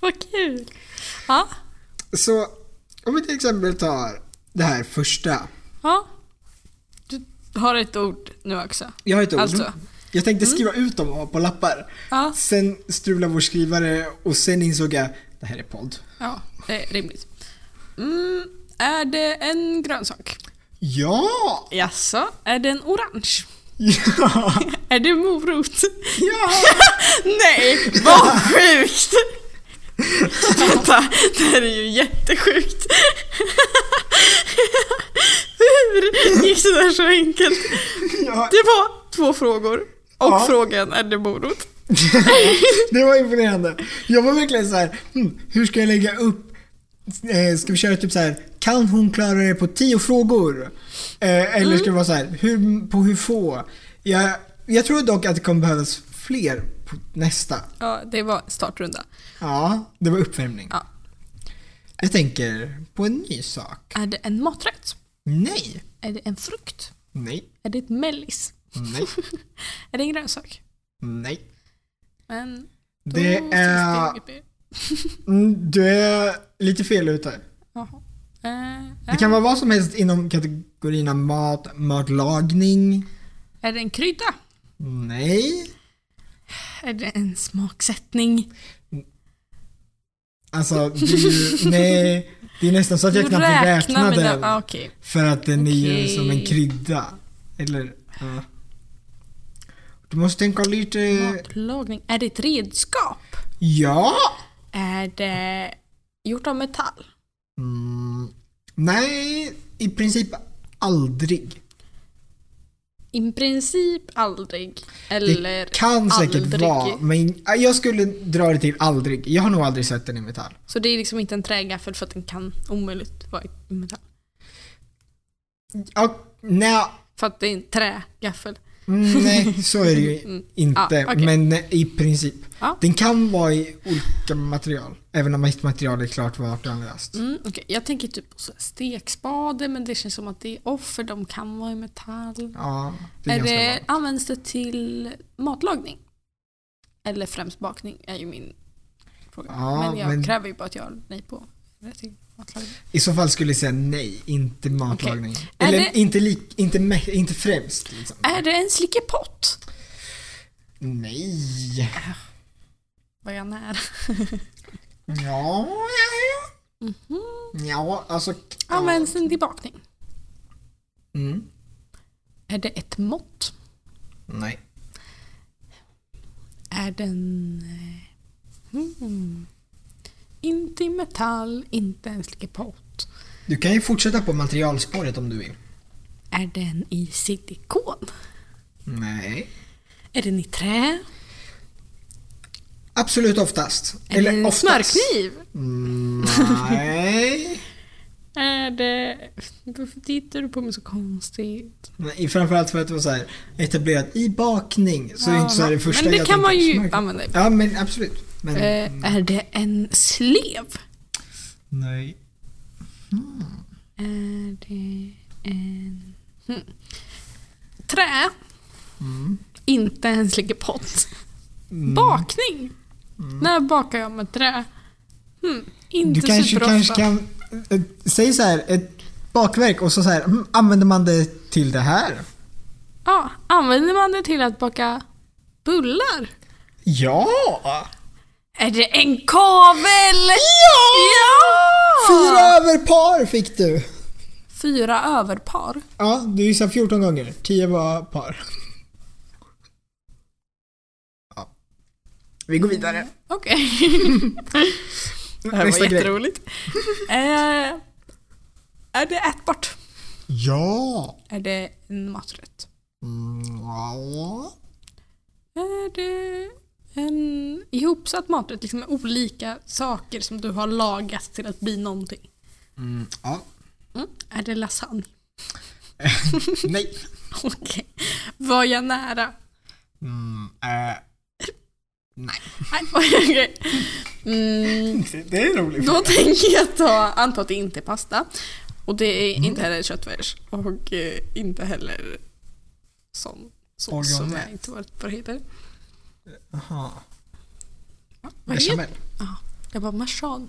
Speaker 1: Vad kul. Ja.
Speaker 2: Så om vi till exempel tar det här första.
Speaker 1: Ja. Du har ett ord nu också.
Speaker 2: Jag har ett ord.
Speaker 1: Alltså.
Speaker 2: Jag tänkte skriva ut dem och ha på lappar.
Speaker 1: Ja.
Speaker 2: Sen strulade vår skrivare och sen insåg jag det här är podd.
Speaker 1: Ja, det är rimligt. Mm, är det en grönsak?
Speaker 2: Ja! *laughs*
Speaker 1: Jaså? Är det en orange?
Speaker 2: Ja!
Speaker 1: Är det morot? *laughs*
Speaker 2: Ja!
Speaker 1: Nej, vad sjukt! Vänta, det här är ju jättesjukt. Hur gick det där så enkelt?
Speaker 2: ja.
Speaker 1: Det var två frågor och
Speaker 2: Ja.
Speaker 1: frågan är det morot?
Speaker 2: det var imponerande. Jag var verkligen så här, hm, hur ska jag lägga upp? Eh, ska vi köra typ så här, kan hon klara det på tio frågor? Eh, eller ska det vara så här, hur, på hur få? Jag, jag tror dock att det kommer behövas fler på nästa.
Speaker 1: Ja, det var startrunda.
Speaker 2: Ja, det var uppvärmning.
Speaker 1: Ja.
Speaker 2: Jag tänker på en ny sak.
Speaker 1: Är det en maträtt?
Speaker 2: Nej,
Speaker 1: Är det en frukt?
Speaker 2: nej,
Speaker 1: Är det ett mellis?
Speaker 2: nej,
Speaker 1: Är det en grönsak?
Speaker 2: nej.
Speaker 1: Men då
Speaker 2: Det
Speaker 1: finns
Speaker 2: är...
Speaker 1: inget mer.
Speaker 2: mm, Du är lite fel ute.
Speaker 1: Jaha. Eh,
Speaker 2: Det kan vara vad som helst inom kategorierna mat, matlagning.
Speaker 1: Är det en krydda?
Speaker 2: Nej.
Speaker 1: Är det en smaksättning?
Speaker 2: Alltså, det
Speaker 1: *laughs*
Speaker 2: är ju, nej. Det är nästan så att jag knappt vill räkna den.
Speaker 1: Ah, okej.
Speaker 2: För att den är ju
Speaker 1: Okej.
Speaker 2: som en krydda. Eller, ja. Du måste tänka lite...
Speaker 1: Matlagning. Är det ett redskap?
Speaker 2: Ja!
Speaker 1: Är det gjort av metall?
Speaker 2: Mm, nej, i princip aldrig.
Speaker 1: I princip aldrig.
Speaker 2: Det
Speaker 1: Eller
Speaker 2: kan säkert
Speaker 1: aldrig.
Speaker 2: vara, men jag skulle dra det till aldrig. Jag har nog aldrig sett den i metall.
Speaker 1: Så det är liksom inte en trägaffel för att den kan omöjligt vara i metall.
Speaker 2: Ja, nej,
Speaker 1: För att det är en trägaffel.
Speaker 2: Mm, nej, så är det ju inte.
Speaker 1: Ah, okej. Ah.
Speaker 2: Men eh, i princip.
Speaker 1: Ja.
Speaker 2: Den kan vara i olika material. Även om ett material är klart vakuumlöst.
Speaker 1: Mm, okej. Jag tänker typ på så här stekspade men det känns som att det är off för de kan vara i metall.
Speaker 2: Ja, det är,
Speaker 1: är
Speaker 2: ganska
Speaker 1: det,
Speaker 2: bra.
Speaker 1: används det till matlagning? Eller främst bakning är ju min fråga.
Speaker 2: Ja,
Speaker 1: men jag
Speaker 2: men-
Speaker 1: kräver ju bara ett ja eller nej på rätt till matlagning.
Speaker 2: I så fall skulle jag säga nej, inte matlagning.
Speaker 1: Är
Speaker 2: Eller
Speaker 1: det-
Speaker 2: inte, lik, inte, me- inte främst. Liksom.
Speaker 1: Är det en slickepott?
Speaker 2: Nej.
Speaker 1: Var jag
Speaker 2: *laughs*
Speaker 1: nära?
Speaker 2: Ja, ja, ja.
Speaker 1: Mhm.
Speaker 2: Ja, alltså. ja.
Speaker 1: Används den till bakning?
Speaker 2: Mm.
Speaker 1: Är det ett mått?
Speaker 2: Nej.
Speaker 1: Är den... eh, Hmm, inte i metall, inte en slickepott.
Speaker 2: Du kan ju fortsätta på materialspåret om du vill.
Speaker 1: Är den i silikon?
Speaker 2: Nej.
Speaker 1: Är den i trä?
Speaker 2: Absolut oftast.
Speaker 1: Är det en
Speaker 2: oftast.
Speaker 1: smörkniv?
Speaker 2: Mm, Nej.
Speaker 1: Är det... Varför tittar du på mig så konstigt?
Speaker 2: Nej, framförallt för att det var så här etablerat i bakning. Så det är inte så här det första
Speaker 1: Men det
Speaker 2: jag
Speaker 1: kan man
Speaker 2: tänker,
Speaker 1: ju
Speaker 2: smörkniv.
Speaker 1: använda.
Speaker 2: Ja men absolut. Men,
Speaker 1: Eh, är det en slev?
Speaker 2: Nej.
Speaker 1: Är det en... Hmm. Trä? inte ens ligger pott.
Speaker 2: Mm.
Speaker 1: Bakning! När bakar jag med trä? Hmm, inte
Speaker 2: Du kanske,
Speaker 1: superofta.
Speaker 2: kanske kan... eh, Säg så här, ett bakverk och så, så här, mm, använder man det till det här?
Speaker 1: Ja, använder man det till att baka bullar?
Speaker 2: Ja!
Speaker 1: Är det en kavel? Ja!
Speaker 2: Fyra över par fick du!
Speaker 1: Fyra överpar.
Speaker 2: Ja, du gissade 14 gånger. 10 var par. Ja. Vi går vidare.
Speaker 1: Okej. *laughs* det här
Speaker 2: Nästa
Speaker 1: var
Speaker 2: grej.
Speaker 1: jätteroligt. *laughs* eh, är det ätbart?
Speaker 2: Ja!
Speaker 1: Är det en maträtt?
Speaker 2: Mm, ja.
Speaker 1: Är det en ihopsatt maträtt? Liksom med olika saker som du har lagat till att bli någonting.
Speaker 2: Mm, ja.
Speaker 1: Mm. Är det lasagne? *laughs*
Speaker 2: Nej.
Speaker 1: Okej. Var jag nära?
Speaker 2: Mm, eh,
Speaker 1: Nej, okej. Mm,
Speaker 2: det är roligt.
Speaker 1: då *laughs* tänker jag ta, anta att det inte är pasta. Och det är inte heller köttfärs och eh, inte heller sån sås som
Speaker 2: Bourgogne.
Speaker 1: jag inte vet vad det heter.
Speaker 2: Jaha.
Speaker 1: Vad heter
Speaker 2: Bechamel.
Speaker 1: Ja, jag bara *laughs* marsan.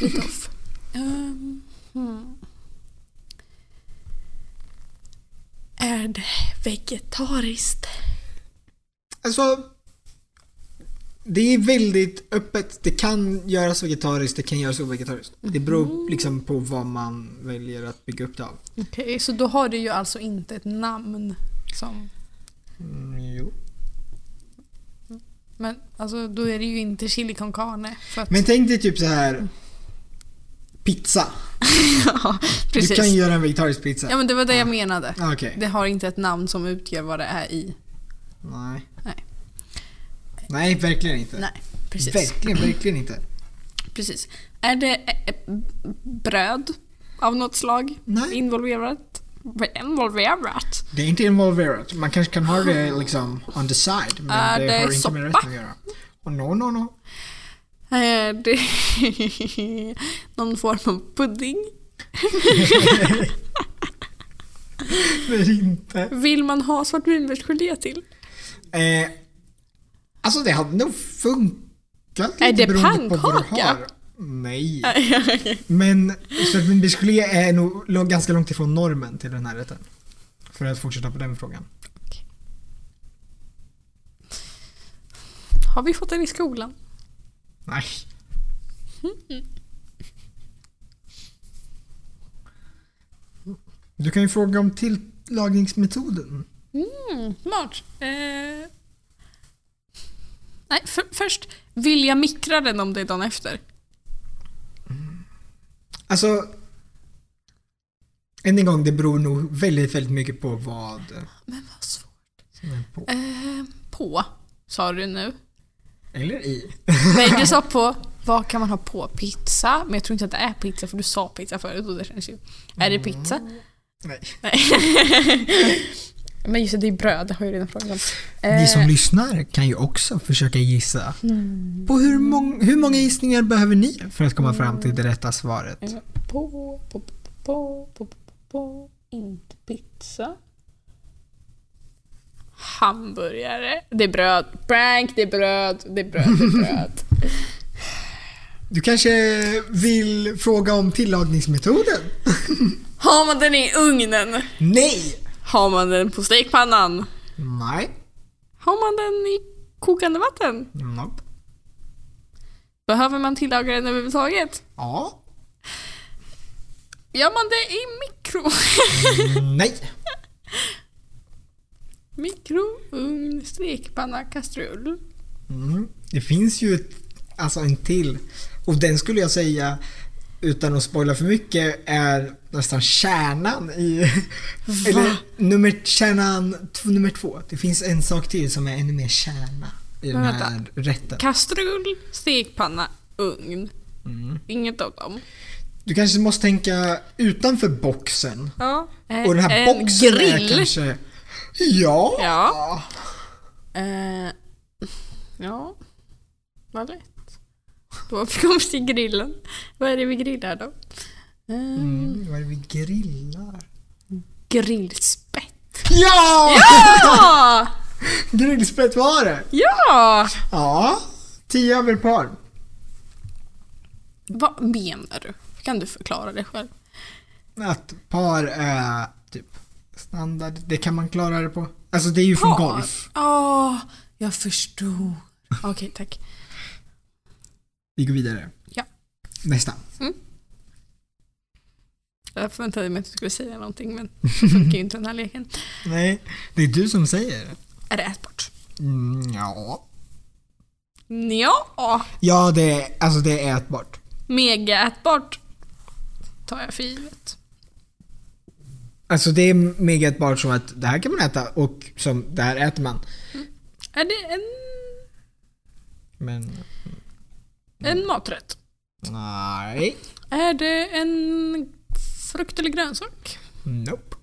Speaker 1: Lite off. Ehm, hmm. Är det vegetariskt?
Speaker 2: Alltså, det är väldigt öppet. Det kan göras vegetariskt, det kan göras ovegetariskt. Det
Speaker 1: Mm.
Speaker 2: beror liksom på vad man väljer att bygga upp det av.
Speaker 1: Okej, så då har det ju alltså inte ett namn som...
Speaker 2: Mm, jo.
Speaker 1: Men alltså då är det ju inte chili con carne. För att,
Speaker 2: Men tänk dig typ så här pizza.
Speaker 1: *laughs* ja, precis.
Speaker 2: Du kan göra en vegetarisk pizza.
Speaker 1: Ja men det var det jag menade.
Speaker 2: Ah, Okej.
Speaker 1: Det har inte ett namn som utgör vad det är i.
Speaker 2: Nej.
Speaker 1: Nej.
Speaker 2: Nej, verkligen inte.
Speaker 1: Nej, precis.
Speaker 2: Verkligen, verkligen inte.
Speaker 1: precis. Är det eh, eh, bröd av något slag?
Speaker 2: Nej.
Speaker 1: Involverat? Involverat?
Speaker 2: Det är inte involverat. Man kanske kan ha det liksom on the side. Men
Speaker 1: Är
Speaker 2: det,
Speaker 1: Ah. det
Speaker 2: har inte med
Speaker 1: soppa?
Speaker 2: rätten att göra. Och no, no, no.
Speaker 1: Är Eh, det *laughs* någon form av pudding?
Speaker 2: Det är inte.
Speaker 1: Vill man ha svartvinbärsgelé till?
Speaker 2: Eh, alltså det hade nog funkat
Speaker 1: Är det
Speaker 2: beroende på vad du
Speaker 1: pannkaka?
Speaker 2: har.
Speaker 1: *laughs*
Speaker 2: Nej. Men svartvinbärsgelé är eh, nog låg ganska långt ifrån normen till den här rätten. För att fortsätta på den frågan.
Speaker 1: Har vi fått den i skolan? *laughs*
Speaker 2: Nej. Du kan ju fråga om tillagningsmetoden.
Speaker 1: Mm, smart. Eh... Nej, för, först vill jag mikra den om det är dagen efter.
Speaker 2: Alltså... Än en gång, det beror nog väldigt, väldigt mycket på vad
Speaker 1: Men vad svårt.
Speaker 2: som är på.
Speaker 1: Eh, på, sa du nu.
Speaker 2: Eller i.
Speaker 1: Nej, *laughs* du sa på. Vad kan man ha på? Pizza? Men jag tror inte att det är pizza för du sa pizza förut och det känns ju... Är det pizza?
Speaker 2: Nej.
Speaker 1: Nej. *laughs* Men just det, det är bröd. Det har jag redan frågat om.
Speaker 2: Ni som
Speaker 1: Eh,
Speaker 2: lyssnar kan ju också försöka gissa. På hur, mång- hur många gissningar behöver ni för att komma fram till det rätta svaret?
Speaker 1: På, på, på, på, på, på, på, inte pizza. Hamburgare. Det är bröd. Prank, det är bröd, det är bröd, det är bröd.
Speaker 2: Du kanske vill fråga om tillagningsmetoden?
Speaker 1: *laughs* Har man den i ugnen?
Speaker 2: Nej!
Speaker 1: Har man den på stekpannan?
Speaker 2: Nej.
Speaker 1: Har man den i kokande vatten?
Speaker 2: Nope.
Speaker 1: Behöver man tillaga den överhuvudtaget?
Speaker 2: Ja.
Speaker 1: Gör man det i mikro? *laughs*
Speaker 2: Nej.
Speaker 1: mikro, ugn, stekpanna, kastrull.
Speaker 2: Mm. Det finns ju ett, alltså en till. Och den skulle jag säga, utan att spoila för mycket, är nästan kärnan i... Eller nummer, kärnan t- nummer två. Det finns en sak till som är ännu mer kärna i den
Speaker 1: Men
Speaker 2: här rätten.
Speaker 1: Kastrull, stekpanna, ugn.
Speaker 2: Mm.
Speaker 1: Inget av dem.
Speaker 2: Du kanske måste tänka utanför boxen.
Speaker 1: Ja. eh,
Speaker 2: Och den här
Speaker 1: en
Speaker 2: boxen
Speaker 1: grill.
Speaker 2: är kanske... Ja.
Speaker 1: Ja. Eh, ja. Vad lätt. Då har vi kommit till grillen. Vad är det vi grillar då? Eh,
Speaker 2: Mm, vad är det vi grillar? *laughs*
Speaker 1: Grillspett.
Speaker 2: Ja!
Speaker 1: Ah!
Speaker 2: Grillspett var det!
Speaker 1: Ja!
Speaker 2: Ja, tio över par.
Speaker 1: Vad menar du? Kan du förklara det själv?
Speaker 2: Att par är typ standard, det kan man klara det på. Alltså det är ju från
Speaker 1: Par.
Speaker 2: golf.
Speaker 1: Ja, jag förstod. Okej, tack.
Speaker 2: Vi går vidare.
Speaker 1: Ja.
Speaker 2: Nästa.
Speaker 1: Jag förväntade mig att du skulle säga någonting men det funkar ju inte den här leken.
Speaker 2: Nej, det är du som säger det.
Speaker 1: Är det ätbart?
Speaker 2: Mm, ja.
Speaker 1: Ja,
Speaker 2: Ja, det är, alltså det är ätbart.
Speaker 1: mega ätbart. Tar jag för givet.
Speaker 2: Alltså det är mega ätbart som att det här kan man äta och som det här äter man.
Speaker 1: Är det en,
Speaker 2: Men
Speaker 1: en maträtt?
Speaker 2: nej.
Speaker 1: Är det en frukt eller grönsak?
Speaker 2: Nope.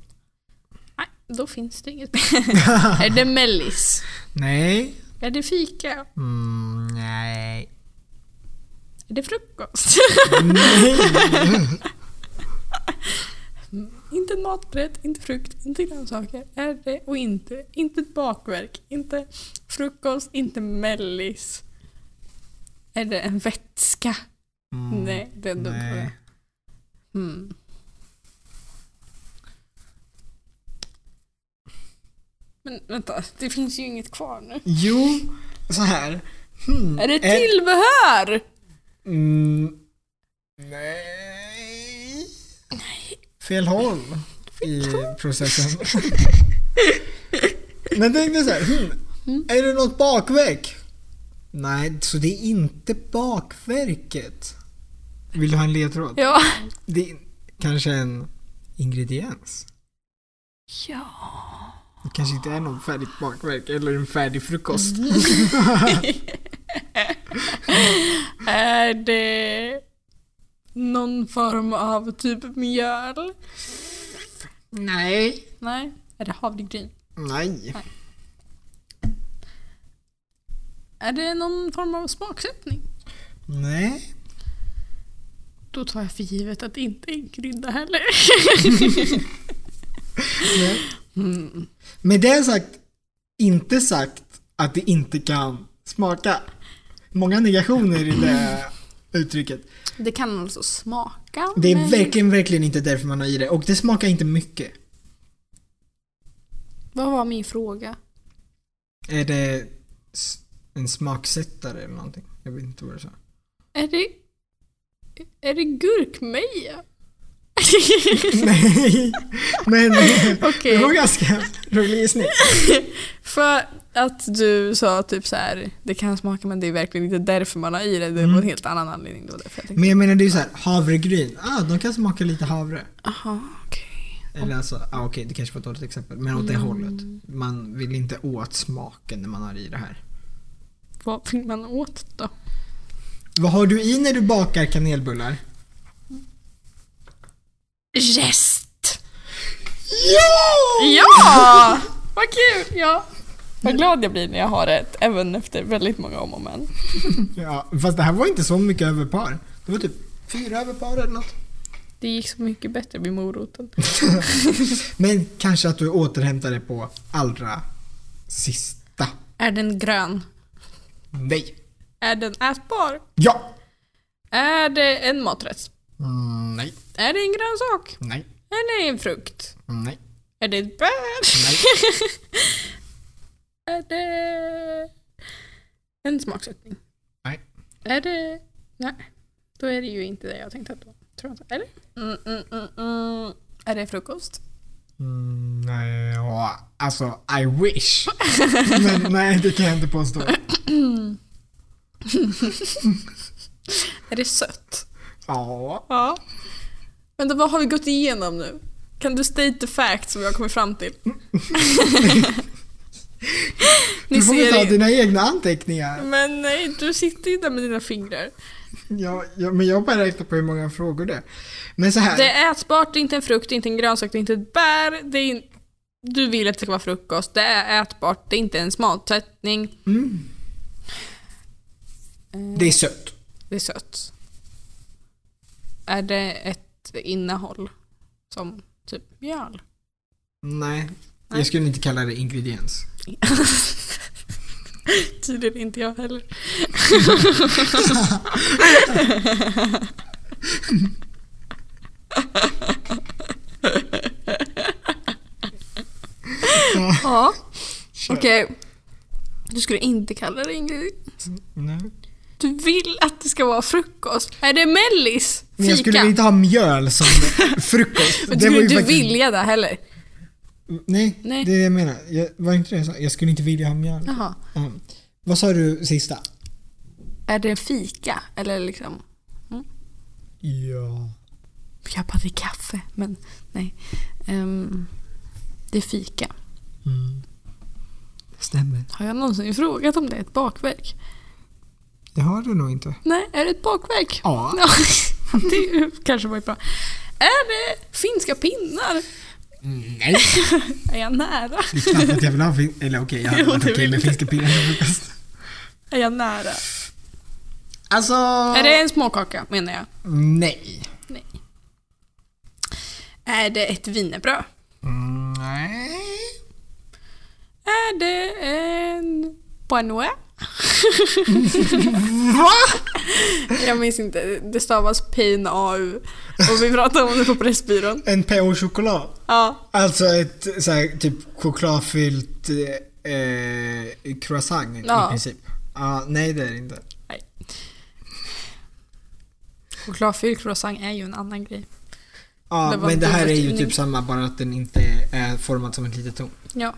Speaker 1: Nej, då finns det inget *laughs* Är det mellis?
Speaker 2: Nej.
Speaker 1: Är det fika?
Speaker 2: Mm, nej.
Speaker 1: Är det frukost? *laughs* inte en maträtt, inte frukt, inte grönsaker. Är det och inte. Inte ett bakverk, inte frukost, inte mellis. Är det en vätska?
Speaker 2: Mm,
Speaker 1: Nej, det är en dum fråga.
Speaker 2: nej.
Speaker 1: Mm. Men vänta, det finns ju inget kvar nu.
Speaker 2: Jo, så här. Hmm,
Speaker 1: Är det
Speaker 2: ä-
Speaker 1: tillbehör?
Speaker 2: Mm, nej. Fel håll i
Speaker 1: *laughs*
Speaker 2: processen. Men tänk dig så här. Hmm,
Speaker 1: Mm.
Speaker 2: Är det något bakverk? Nej, så det är inte bakverket. Vill du ha en ledtråd?
Speaker 1: Ja.
Speaker 2: Det är kanske en ingrediens.
Speaker 1: Ja.
Speaker 2: Det kanske inte är någon färdigt bakverk eller en färdig frukost.
Speaker 1: Mm. Är det någon form av typ mjöl?
Speaker 2: Nej.
Speaker 1: Nej. Är det havregryn?
Speaker 2: Nej.
Speaker 1: Är det någon form av smaksättning?
Speaker 2: Nej.
Speaker 1: Då tar jag för givet att det inte är en krydda *laughs* heller.
Speaker 2: Nej.
Speaker 1: Mm.
Speaker 2: Med det sagt, inte sagt att det inte kan smaka. Många negationer i det uttrycket.
Speaker 1: Det kan alltså smaka.
Speaker 2: Det är
Speaker 1: men-
Speaker 2: verkligen, verkligen inte därför man har i det. Och det smakar inte mycket.
Speaker 1: Vad var min fråga?
Speaker 2: Är det s- en smaksättare eller någonting? Jag vet inte vad du sa. *laughs*
Speaker 1: Är det... Är det
Speaker 2: *laughs*
Speaker 1: gurkmeja?
Speaker 2: Nej, men
Speaker 1: *laughs* Okej.
Speaker 2: det var ganska rolig gissning.
Speaker 1: *laughs* För att du sa typ så här, det kan smaka men det är verkligen inte därför man har i det. Det var en helt annan anledning. Då, därför jag tänkte,
Speaker 2: Men jag menar det är ju såhär, havregryn. Ah, de kan smaka lite havre.
Speaker 1: aha, okej.
Speaker 2: Eller alltså, ah, okej det kanske var ett dåligt exempel. Men åt det hållet. Man vill inte åt smaken när man har i det här.
Speaker 1: Vad vill man åt då?
Speaker 2: Vad har du i när du bakar kanelbullar?
Speaker 1: Gäst!
Speaker 2: Ja!
Speaker 1: *laughs* Ja! Vad kul! Ja. Vad glad jag blir när jag har rätt, även efter väldigt många om och men.
Speaker 2: ja! Fast det här var inte så mycket över par. Det var typ fyra över par eller något.
Speaker 1: Det gick så mycket bättre vid moroten.
Speaker 2: Men kanske att du återhämtar det på allra sista.
Speaker 1: Är den grön?
Speaker 2: Nej.
Speaker 1: Är den ätbar?
Speaker 2: Ja!
Speaker 1: Är det en maträtt?
Speaker 2: Mm, nej.
Speaker 1: Är det en grönsak?
Speaker 2: Nej.
Speaker 1: Är det en frukt?
Speaker 2: Nej.
Speaker 1: Är det ett bär?
Speaker 2: Nej.
Speaker 1: *laughs* Är det en smaksättning?
Speaker 2: Nej.
Speaker 1: Är det... Nej. Då är det ju inte det jag tänkte att det var. Tror jag inte. Eller? Mm, mm, mm, mm. Är det frukost?
Speaker 2: Mm, nej. ja, Alltså, I
Speaker 1: *laughs*
Speaker 2: wish. Men nej, det kan jag inte påstå.
Speaker 1: Är det sött?
Speaker 2: Ja.
Speaker 1: Ja. Vänta, vad har vi gått igenom nu? Kan du state the fact som jag har kommit fram *laughs* till? Ni
Speaker 2: Du får väl ta
Speaker 1: ser
Speaker 2: dina egna anteckningar.
Speaker 1: Men nej, du sitter ju där med dina fingrar.
Speaker 2: Ja, ja, men jag bara räknar på hur många frågor det är. Men så här.
Speaker 1: Det är ätbart, det är inte en frukt, det är inte en grönsak, det är inte ett bär. Det är in... Du vill att det ska vara frukost, det är ätbart, det är inte en smalsättning.
Speaker 2: Mm. Eh, Det är sött.
Speaker 1: Det är sött. Är det ett innehåll? Som typ mjöl?
Speaker 2: Nej.
Speaker 1: Nej.
Speaker 2: Jag skulle inte kalla det ingrediens.
Speaker 1: *laughs* Tydligen inte jag heller. ja,
Speaker 2: Kör.
Speaker 1: okej. Du skulle inte kalla det ingrediens.
Speaker 2: Nej.
Speaker 1: Du vill att det ska vara frukost. Är det mellis?
Speaker 2: Men jag skulle
Speaker 1: Fika?
Speaker 2: inte ha mjöl som frukost.
Speaker 1: Men skulle
Speaker 2: var ju
Speaker 1: inte
Speaker 2: faktiskt-
Speaker 1: vilja det heller?
Speaker 2: Nej,
Speaker 1: Nej.
Speaker 2: det är det jag menar. Jag, var inte det jag sa? Jag skulle inte vilja ha mjöl.
Speaker 1: Jaha.
Speaker 2: Ja. Vad sa du sista?
Speaker 1: Är det fika? Eller liksom...
Speaker 2: Ja.
Speaker 1: Jag bara, det är kaffe. Men nej. Ehm, det är fika.
Speaker 2: Mm. Stämmer.
Speaker 1: Har jag någonsin frågat om det är ett bakverk?
Speaker 2: Det har du nog inte.
Speaker 1: Nej, är det ett bakverk?
Speaker 2: Ja.
Speaker 1: *laughs* Ja, det är ju kanske var ju bra. Är det finska pinnar?
Speaker 2: Nej.
Speaker 1: Är jag nära?
Speaker 2: Det är knappt att jag vill ha fin- Eller okej, jag hade
Speaker 1: Jo,
Speaker 2: varit
Speaker 1: du
Speaker 2: okej med
Speaker 1: vill.
Speaker 2: finska pinnar som frukost.
Speaker 1: Är jag nära?
Speaker 2: Alltså...
Speaker 1: Är det en småkaka menar jag?
Speaker 2: Nej.
Speaker 1: Nej. Är det ett wienerbröd?
Speaker 2: Mm, nej.
Speaker 1: Är det en panoue?
Speaker 2: *laughs* Va?
Speaker 1: Jag minns inte, det stavas PNAU och vi pratade om det på Pressbyrån.
Speaker 2: En PO-choklad?
Speaker 1: Ja,
Speaker 2: Alltså ett så här, typ chokladfyllt eh, croissant
Speaker 1: Ja.
Speaker 2: i princip. Ja, nej det är det inte.
Speaker 1: chokladfylld croissant är ju en annan grej.
Speaker 2: Ja,
Speaker 1: Det var
Speaker 2: men det här är ju
Speaker 1: dubbeltidning.
Speaker 2: typ samma bara att den inte är formad som ett
Speaker 1: *laughs*
Speaker 2: litet torn.
Speaker 1: Ja.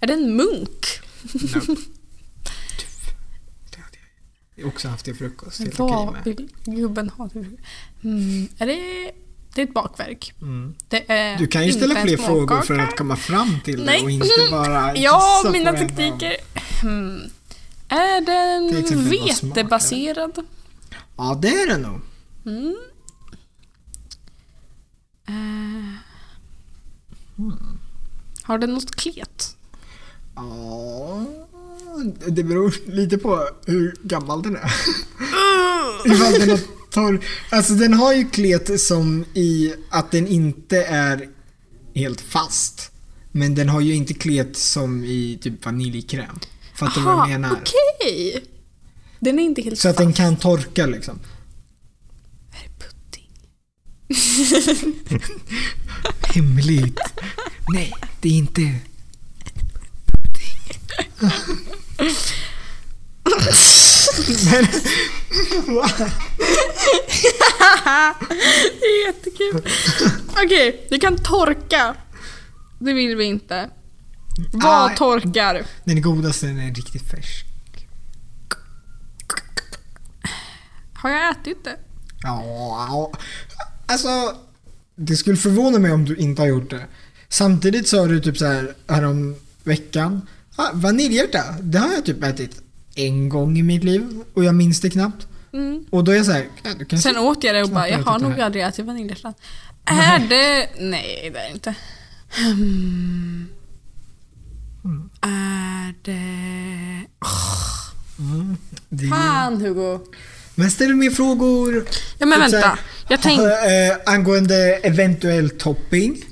Speaker 1: Är det en munk?
Speaker 2: Det hade jag ju också haft till frukost. Helt okej
Speaker 1: Vad
Speaker 2: med.
Speaker 1: vill gubben ha? Mm, är det, det är ett bakverk.
Speaker 2: Mm.
Speaker 1: Det är
Speaker 2: Du kan ju
Speaker 1: inte
Speaker 2: ställa
Speaker 1: en
Speaker 2: fler frågor för
Speaker 1: småkaka.
Speaker 2: att komma fram till
Speaker 1: Nej.
Speaker 2: det
Speaker 1: *laughs*
Speaker 2: och inte bara
Speaker 1: Ja,
Speaker 2: gissa på
Speaker 1: mina
Speaker 2: en av-
Speaker 1: tekniker. Mm. Är
Speaker 2: Till
Speaker 1: den
Speaker 2: exempel vad smak är.
Speaker 1: vetebaserad?
Speaker 2: Ja, det är det nog.
Speaker 1: Mm. Eh. Har den något klet?
Speaker 2: Ja, det beror lite på hur gammal den är. *laughs* Ifall den är torr. Alltså den har ju klet som i att den inte är helt fast. Men den har ju inte klet som i typ vaniljkräm. Fattar du vad jag menar?
Speaker 1: okej! Den är inte helt
Speaker 2: Så att den kan torka liksom.
Speaker 1: Är det pudding?
Speaker 2: Hemligt. Nej, det är inte. *laughs* Men,
Speaker 1: Det är jättekul. Okej, det kan torka. Det vill vi inte. Vad
Speaker 2: Ah.
Speaker 1: torkar?
Speaker 2: den godaste den är riktigt färsk.
Speaker 1: Har jag ätit det?
Speaker 2: Ja, alltså det skulle förvåna mig om du inte har gjort det. Samtidigt sa du typ så här härom veckan. Ah, vaniljhjärta, det har jag typ ätit en gång i mitt liv och jag minns det knappt.
Speaker 1: Mm.
Speaker 2: Och då är jag så här, "Ja, du kanske...
Speaker 1: Sen åt jag det och
Speaker 2: knappt
Speaker 1: bara, jag
Speaker 2: ätit
Speaker 1: har
Speaker 2: det
Speaker 1: nog
Speaker 2: här."
Speaker 1: aldrig ätit vaniljhjärtan. Är det... Nej, det är det inte.
Speaker 2: Mm.
Speaker 1: Hmm. Är det... Åh,
Speaker 2: Mm, det är-
Speaker 1: fan Hugo.
Speaker 2: Men ställ mer frågor.
Speaker 1: Ja men
Speaker 2: Typ så
Speaker 1: vänta.
Speaker 2: här,
Speaker 1: Jag tänkte...
Speaker 2: eh, angående eventuell topping.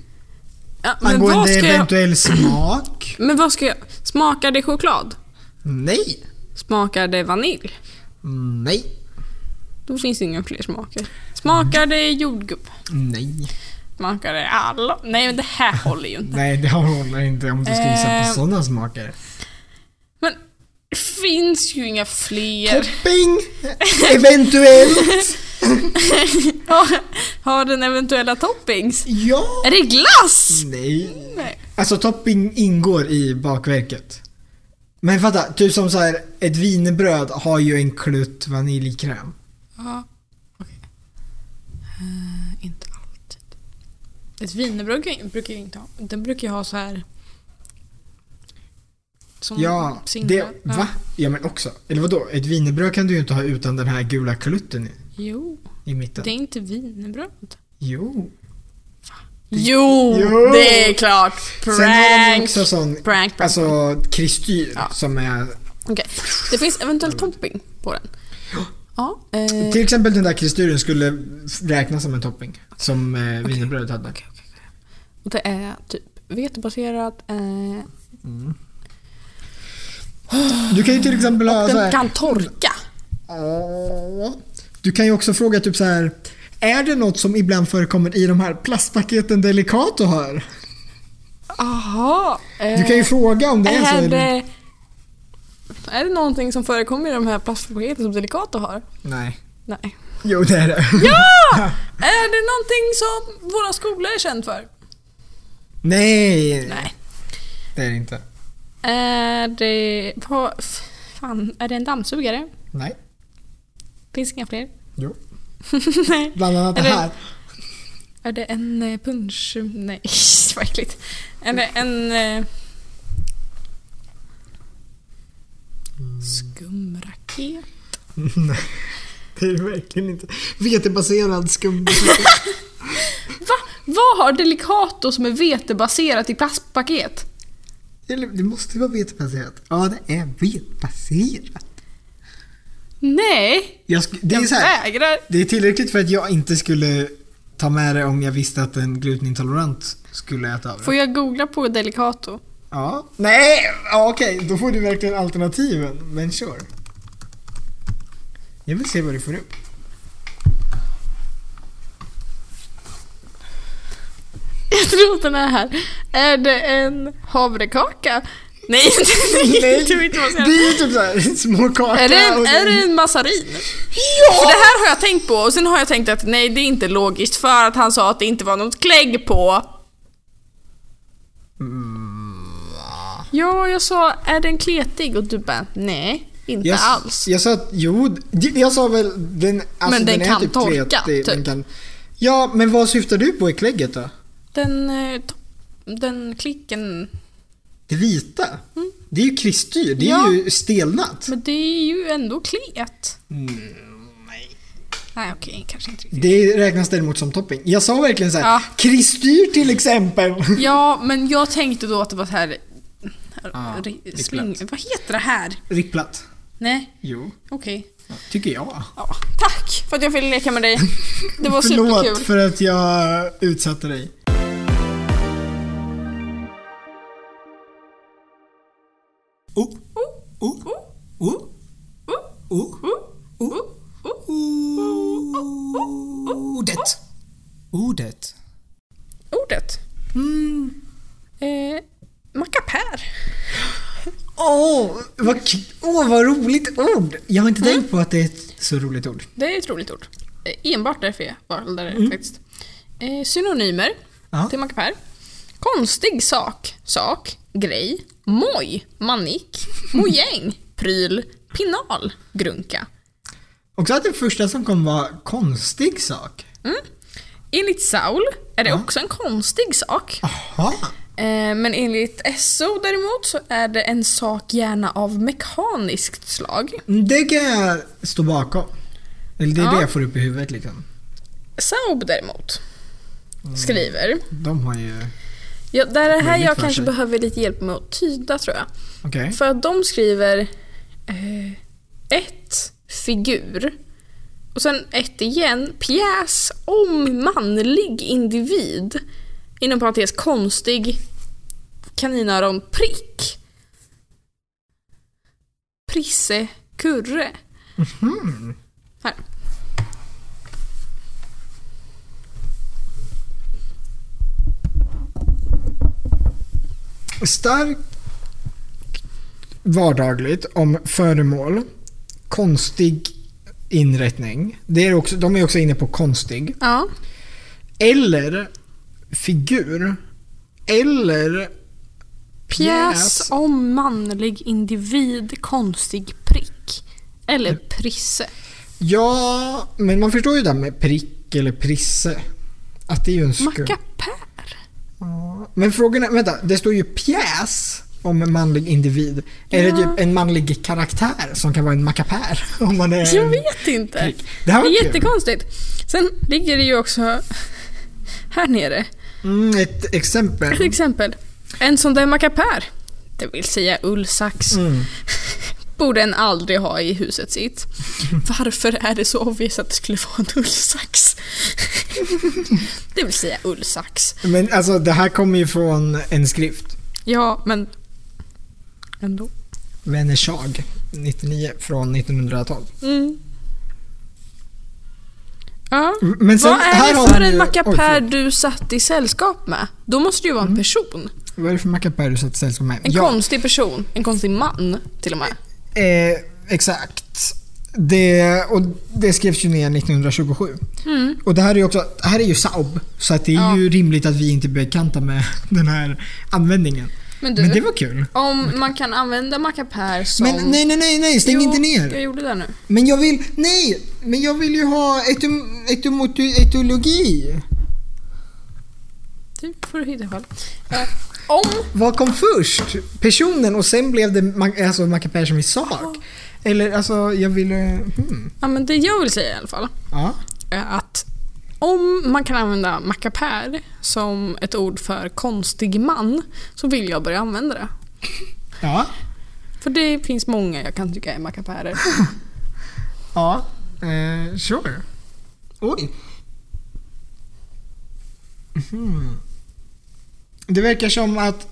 Speaker 1: Ja, men, vad
Speaker 2: angående
Speaker 1: ska jag,
Speaker 2: eventuell smak.
Speaker 1: men vad ska jag... Smakar det choklad?
Speaker 2: Nej.
Speaker 1: Smakar det vanilj?
Speaker 2: Nej.
Speaker 1: Då finns det inga fler smaker. Smakar det jordgubb?
Speaker 2: Nej.
Speaker 1: Smakar det alla? Nej men det här håller ju inte.
Speaker 2: Nej, det håller inte om du ska gissa
Speaker 1: Eh.
Speaker 2: på sådana smaker.
Speaker 1: Men det finns ju inga fler.
Speaker 2: Topping! Eventuellt!
Speaker 1: *laughs* Har- Har den eventuella toppings?
Speaker 2: Ja!
Speaker 1: Är det glass?
Speaker 2: Nej.
Speaker 1: Nej.
Speaker 2: Alltså topping ingår i bakverket. Men fatta, typ som så här, ett wienerbröd har ju en klutt
Speaker 1: Mm,
Speaker 2: vaniljkräm.
Speaker 1: Ja, okej. Eh, inte alltid. Ett wienerbröd kan- brukar ju inte ha. Den brukar ju ha så här... Som
Speaker 2: Ja,
Speaker 1: singlar.
Speaker 2: det, va? Ja men också. Eller vadå? Ett wienerbröd kan du ju inte ha utan den här gula klutten i,
Speaker 1: Jo,
Speaker 2: i mitten.
Speaker 1: det är inte wienerbröd.
Speaker 2: Jo.
Speaker 1: Jo,
Speaker 2: Jo.
Speaker 1: det är klart.
Speaker 2: Sen har de ju
Speaker 1: Prank.
Speaker 2: också sån,
Speaker 1: Prank, prank.
Speaker 2: alltså kristyr
Speaker 1: Ja.
Speaker 2: som är
Speaker 1: Okej. Det finns eventuellt topping på den. Ja. eh,
Speaker 2: Till exempel den där kristyren skulle f- räknas som en topping. Som eh, wienerbrödet hade.
Speaker 1: Och det är typ vetebaserat. Eh,
Speaker 2: Du kan ju till exempel ha
Speaker 1: och
Speaker 2: så
Speaker 1: den
Speaker 2: här,
Speaker 1: kan torka.
Speaker 2: Ja. Du kan ju också fråga typ så här. Är det något som ibland förekommer i de här plastpaketen Delicato har?
Speaker 1: Aha. eh,
Speaker 2: Du kan ju fråga om det är så.
Speaker 1: är
Speaker 2: eller-
Speaker 1: det, är det någonting som förekommer i de här plastpaketen som Delicato har?
Speaker 2: Nej. *laughs*
Speaker 1: Nej.
Speaker 2: Jo, det är det.
Speaker 1: Ja! är det någonting som våra skolor är känd för?
Speaker 2: Nej,
Speaker 1: Nej.
Speaker 2: det är det inte.
Speaker 1: Är det... Vad f- fan, är det en dammsugare?
Speaker 2: Nej.
Speaker 1: Finns inga fler?
Speaker 2: Jo.
Speaker 1: *laughs* Nej.
Speaker 2: Bland annat det
Speaker 1: Eller-
Speaker 2: här.
Speaker 1: Är det en eh, punsch... Nej, *laughs* vad äckligt. Är det en... eh,
Speaker 2: Mm.
Speaker 1: Skumraket?
Speaker 2: Nej. Det är det verkligen inte.
Speaker 1: *laughs*
Speaker 2: Vetebaserad skum.
Speaker 1: Va? Vad har Delicato som är vetebaserat i plastpaket?
Speaker 2: Eller, det måste ju vara vetebaserat. Ja, det är vetebaserat.
Speaker 1: Nej!
Speaker 2: Jag sk- det är
Speaker 1: Jag
Speaker 2: så här.
Speaker 1: vägrar!
Speaker 2: Det är tillräckligt för att jag inte skulle ta med det om jag visste att en glutenintolerant skulle äta av det.
Speaker 1: Får jag googla på Delicato? *laughs*
Speaker 2: Ja. Nej! Ja, okej, då får du verkligen alternativen. Men sure. Jag vill se vad du får upp.
Speaker 1: Jag tror att den är här. Är det en havrekaka? *laughs* Nej, *laughs* det är inte
Speaker 2: det
Speaker 1: vetebaserat.
Speaker 2: är ju
Speaker 1: *laughs*
Speaker 2: typ såhär små kakor.
Speaker 1: Är det, en,
Speaker 2: och-
Speaker 1: är det en massarin? För det
Speaker 2: Ja!
Speaker 1: här har jag tänkt på och sen har jag tänkt att nej det är inte logiskt för att han sa att det inte var något klägg på. Ja, jag sa är den kletig och du bara nej, inte
Speaker 2: Jag,
Speaker 1: alls.
Speaker 2: jag sa att, jo, det- jag sa väl den, alltså
Speaker 1: Men den
Speaker 2: är
Speaker 1: kan
Speaker 2: typ
Speaker 1: torka,
Speaker 2: kletig, Den
Speaker 1: typ.
Speaker 2: kan, ja, men vad syftar du på i klägget då?
Speaker 1: Den, eh, to- den klicken,
Speaker 2: Det vita? Det är ju kristyr, det är
Speaker 1: Mm. Ja.
Speaker 2: ju stelnat.
Speaker 1: men det är ju ändå klet.
Speaker 2: Mm, nej.
Speaker 1: Nej okej, kanske inte riktigt.
Speaker 2: Det räknas däremot som topping. Jag sa verkligen såhär,
Speaker 1: Ja.
Speaker 2: kristyr till exempel.
Speaker 1: Ja, men jag tänkte då att det var så här...
Speaker 2: Ah, det är
Speaker 1: ri- sling, vad heter det här?
Speaker 2: *laughs* Ripplat.
Speaker 1: Nej,
Speaker 2: Jo,
Speaker 1: okej.
Speaker 2: tycker jag.
Speaker 1: Ja, tack för att jag fick leka med *laughs* dig. Det var
Speaker 2: Förlåt
Speaker 1: superkul.
Speaker 2: för att jag utsatte dig. Oh, oh,
Speaker 1: Oh,
Speaker 2: oh,
Speaker 1: oh,
Speaker 2: oh,
Speaker 1: oh, oh, oh.
Speaker 2: Ordet. Ordet.
Speaker 1: Ordet? Eh, mackapär.
Speaker 2: Åh, vad, k- åh, vad roligt ord! Jag har inte tänkt på att det är ett så roligt ord.
Speaker 1: Det är ett roligt ord. Eh, Enbart därför jag valde det faktiskt. Eh, synonymer
Speaker 2: Ja.
Speaker 1: till mackapär. Konstig sak, sak, grej, moj, manick, mojäng, pryl, pinal, grunka.
Speaker 2: Också att det första som kom var konstig sak.
Speaker 1: Enligt Saul är det också en konstig sak.
Speaker 2: Aha.
Speaker 1: Eh, men enligt SO däremot så är det en sak gärna av mekaniskt slag.
Speaker 2: Det kan jag stå bakom. Eller det är
Speaker 1: Ja.
Speaker 2: det jag får upp i huvudet liksom.
Speaker 1: Saub däremot skriver
Speaker 2: De har ju...
Speaker 1: Ja, där är här
Speaker 2: Möjligt
Speaker 1: jag
Speaker 2: för
Speaker 1: kanske
Speaker 2: sig.
Speaker 1: behöver lite hjälp med att tyda tror jag.
Speaker 2: Okej.
Speaker 1: För att de skriver eh, ett figur och sen ett igen, pjäs om manlig individ inom parentes konstig kaninöron prick. Prisse kurre.
Speaker 2: Mhm.
Speaker 1: Här.
Speaker 2: Starkt vardagligt om föremål. Konstig inrättning. Det är också, de är också inne på konstig.
Speaker 1: Ja.
Speaker 2: Eller figur. Eller
Speaker 1: Pjäs
Speaker 2: Pjäs.
Speaker 1: om manlig individ, konstig prick. Eller prisse.
Speaker 2: Ja, men man förstår ju det här med prick eller prisse. Att det är ju en skum...
Speaker 1: Mackapär.
Speaker 2: Ja, Men frågan är, vänta, det står ju pjäs om en manlig individ. Är
Speaker 1: Ja.
Speaker 2: det typ en manlig karaktär som kan vara en mackapär? *laughs* Om man är...
Speaker 1: Jag vet inte.
Speaker 2: Eh, prick. Det här
Speaker 1: Det
Speaker 2: var
Speaker 1: är
Speaker 2: kul.
Speaker 1: jättekonstigt. Sen ligger det ju också här nere.
Speaker 2: Mm, ett
Speaker 1: Till
Speaker 2: exempel.
Speaker 1: exempel, en sån där mackapär. Det vill säga ullsax.
Speaker 2: Mm.
Speaker 1: borde en aldrig ha i huset sitt. Varför är det så obvious att det skulle vara en
Speaker 2: *laughs*
Speaker 1: ullsax? det vill säga ullsax.
Speaker 2: Men alltså det här kommer ju från en skrift.
Speaker 1: Ja, men ändå.
Speaker 2: Vänershag 99 från 1912.
Speaker 1: Mm. Ja.
Speaker 2: Men sen,
Speaker 1: Vad är
Speaker 2: här
Speaker 1: det
Speaker 2: har
Speaker 1: för
Speaker 2: vi-
Speaker 1: en
Speaker 2: Oj,
Speaker 1: mackapär
Speaker 2: förlåt. Mm.
Speaker 1: du satt i sällskap med? Då måste det ju vara en person.
Speaker 2: Vad är det för mackapär du satt sällskap med?
Speaker 1: En konstig person. En konstig man till och med.
Speaker 2: Eh, exakt. Det, och det skrevs ju ner 1927.
Speaker 1: Mm.
Speaker 2: Och det här är ju också, det här är ju Saab. Så att det är ju rimligt att vi inte är bekanta med *laughs* den här användningen.
Speaker 1: Men du,
Speaker 2: Men det var kul.
Speaker 1: om man kan använda mackapär som...
Speaker 2: Men nej, nej, nej, nej, stäng
Speaker 1: Jo,
Speaker 2: inte ner.
Speaker 1: Jag gjorde det nu.
Speaker 2: Men jag vill, nej, men jag vill ju ha etym, etymotu- etologi.
Speaker 1: Det får du hitta själv. Eh, om...
Speaker 2: Vad kom först? Personen och sen blev det ma- alltså, mackapär som i sak? Eller alltså, jag ville, hmm,
Speaker 1: Ja, men det jag vill säga i alla fall
Speaker 2: ja.
Speaker 1: är att om man kan använda mackapär som ett ord för konstig man så vill jag börja använda det.
Speaker 2: Ja.
Speaker 1: För det finns många jag kan tycka är mackapärer.
Speaker 2: Ja, eh, sure. Oj. Mhm. Det verkar som att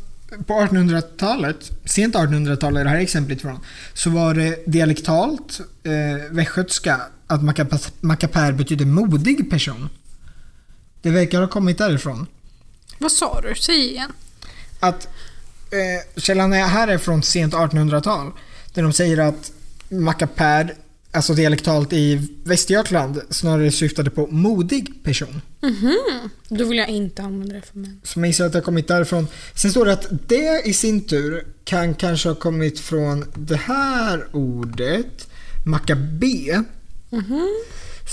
Speaker 2: på 1800-talet, sent 1800-tal är det här exemplet från, så var det dialektalt eh, västgötska att mackapa- mackapär betyder modig person. Det verkar ha kommit därifrån.
Speaker 1: *laughs* Vad sa du? Säg igen.
Speaker 2: Att eh, källan är här är från sent 1800-tal. Där de säger att mackapär, alltså dialektalt i Västergötland, snarare syftade på modig person.
Speaker 1: Då vill jag inte använda det för män.
Speaker 2: Som jag gissar att det har kommit därifrån. Sen står det att det i sin tur kan kanske ha kommit från det här ordet, mackabé.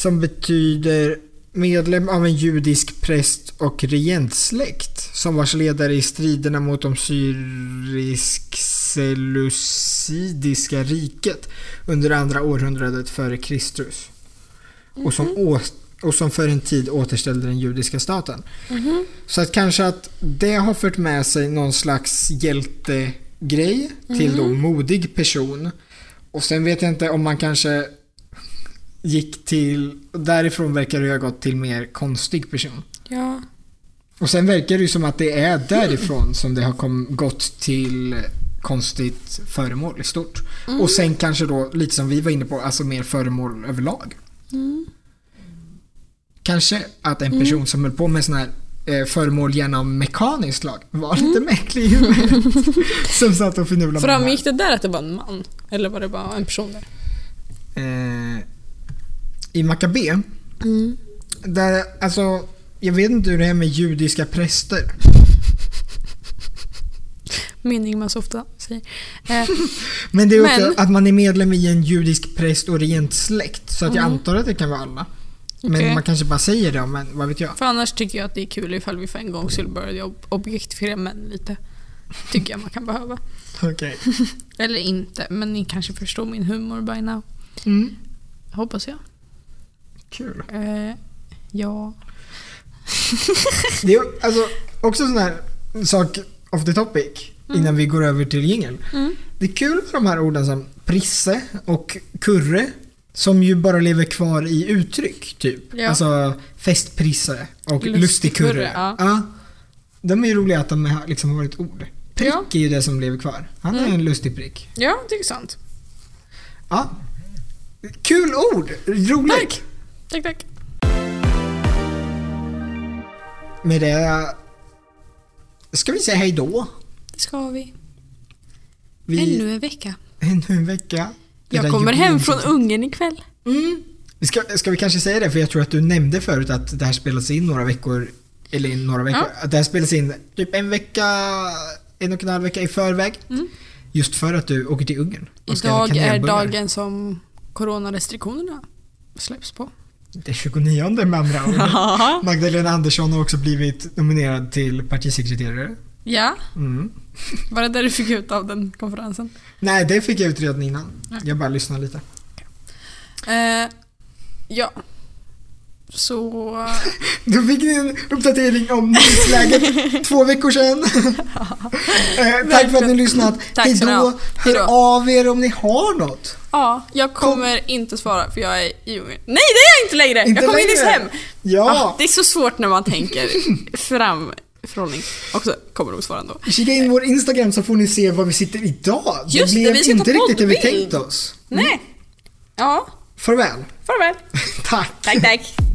Speaker 2: Som betyder medlem av en judisk präst och regentsläkt. Som vars ledare i striderna mot de syrisk-seleucidiska riket under andra århundradet före Kristus. Och som, ås- och som för en tid återställde den judiska staten. Så att kanske att det har fört med sig någon slags hjältegrej till då modig person. Och sen vet jag inte om man kanske gick till, därifrån verkar det ju ha gått till mer konstig person.
Speaker 1: Ja.
Speaker 2: Och sen verkar det ju som att det är därifrån som det har kom, gått till konstigt föremål i stort. Och sen kanske då, lite som vi var inne på, alltså mer föremål överlag. Kanske att en person som höll på med sådana här eh, föremål genom mekaniskt lag var lite mäcklig i huvudet. som satt och förnulade med det här.
Speaker 1: Framgick det där att det var en man? Eller var det bara en person där?
Speaker 2: eh, i Maccabé.
Speaker 1: Mm.
Speaker 2: Där, alltså, jag vet inte hur det är med judiska präster.
Speaker 1: Mening man så ofta säger. Eh,
Speaker 2: Men det är också
Speaker 1: Men-
Speaker 2: att man är medlem i en judisk präst och regentsläkt. Så att jag antar att det kan vara alla. Men
Speaker 1: Mm. Okej.
Speaker 2: man kanske bara säger det, men vad
Speaker 1: *laughs*
Speaker 2: vet jag.
Speaker 1: för annars tycker jag att det är kul ifall vi för en gång skulle börja ob- objektifiera män lite. Tycker jag man kan behöva.
Speaker 2: Okej.
Speaker 1: Eller inte, men ni kanske förstår min humor by now.
Speaker 2: Mm.
Speaker 1: Hoppas jag.
Speaker 2: Kul.
Speaker 1: Eh, ja.
Speaker 2: Det är alltså, också sån här sak off the topic
Speaker 1: Mm.
Speaker 2: innan vi går över till jingel. Det är kul med de här orden som prisse och kurre som ju bara lever kvar i uttryck typ.
Speaker 1: Ja.
Speaker 2: Alltså festprisse och
Speaker 1: Lustigkurre,
Speaker 2: lustigkurre.
Speaker 1: ja.
Speaker 2: De är ju roliga att de har liksom varit ord. Prick
Speaker 1: Ja.
Speaker 2: är ju det som lever kvar. Han är
Speaker 1: Mm.
Speaker 2: en lustig prick.
Speaker 1: Ja, det är sant.
Speaker 2: Ja. Kul ord! Roligt!
Speaker 1: Tack! Tack, tack.
Speaker 2: Med det ska vi säga hej då.
Speaker 1: Det ska vi.
Speaker 2: Vi,
Speaker 1: Ännu en vecka.
Speaker 2: Ännu en vecka. Det där
Speaker 1: Jag kommer
Speaker 2: jubileum-
Speaker 1: hem från Ungern ikväll.
Speaker 2: Mm. Ska, ska vi kanske säga det? För jag tror att du nämnde förut att det här spelas in några veckor. Eller in några veckor. Att det här spelas in typ en vecka, en och en halv vecka i förväg. Just för att du åker till Ungern. och ska ha
Speaker 1: Idag Mm. är
Speaker 2: kanelbullar.
Speaker 1: dagen som coronarestriktionerna släpps
Speaker 2: *laughs*
Speaker 1: på.
Speaker 2: Det är 29 med andra
Speaker 1: *laughs*
Speaker 2: ord. Magdalena Andersson har också blivit nominerad till partisekreterare.
Speaker 1: ja,
Speaker 2: Mm.
Speaker 1: var det där du fick ut av den konferensen?
Speaker 2: Nej, det fick jag ut redan innan. Jag bara lyssnade lite.
Speaker 1: Eh, ja. Eh, Så...
Speaker 2: Då fick ni en uppdatering
Speaker 1: *laughs*
Speaker 2: om nyhetsläget två veckor sedan. Eh, Tack för att ni
Speaker 1: Verkligen.
Speaker 2: lyssnat.
Speaker 1: Tack
Speaker 2: Hej
Speaker 1: ska ni
Speaker 2: då.
Speaker 1: ha. Hej
Speaker 2: Hör
Speaker 1: då.
Speaker 2: av er om ni har något.
Speaker 1: Ja, jag kommer inte svara för jag är i Ungern. Nej, det är jag inte längre!
Speaker 2: Inte
Speaker 1: jag kommer
Speaker 2: längre.
Speaker 1: nyss hem! Ah,
Speaker 2: Ja,
Speaker 1: det är så svårt när man tänker *laughs* framförhållning. Och så kommer de svara ändå.
Speaker 2: kika in vår Instagram så får ni se var vi sitter idag.
Speaker 1: Just det,
Speaker 2: blev
Speaker 1: vi ska ta
Speaker 2: inte riktigt det vi
Speaker 1: poddbild.
Speaker 2: Mm. tänkt oss.
Speaker 1: Nej. Ja,
Speaker 2: Farväl. *laughs*
Speaker 1: farväl.
Speaker 2: Tack.
Speaker 1: Tack, tack.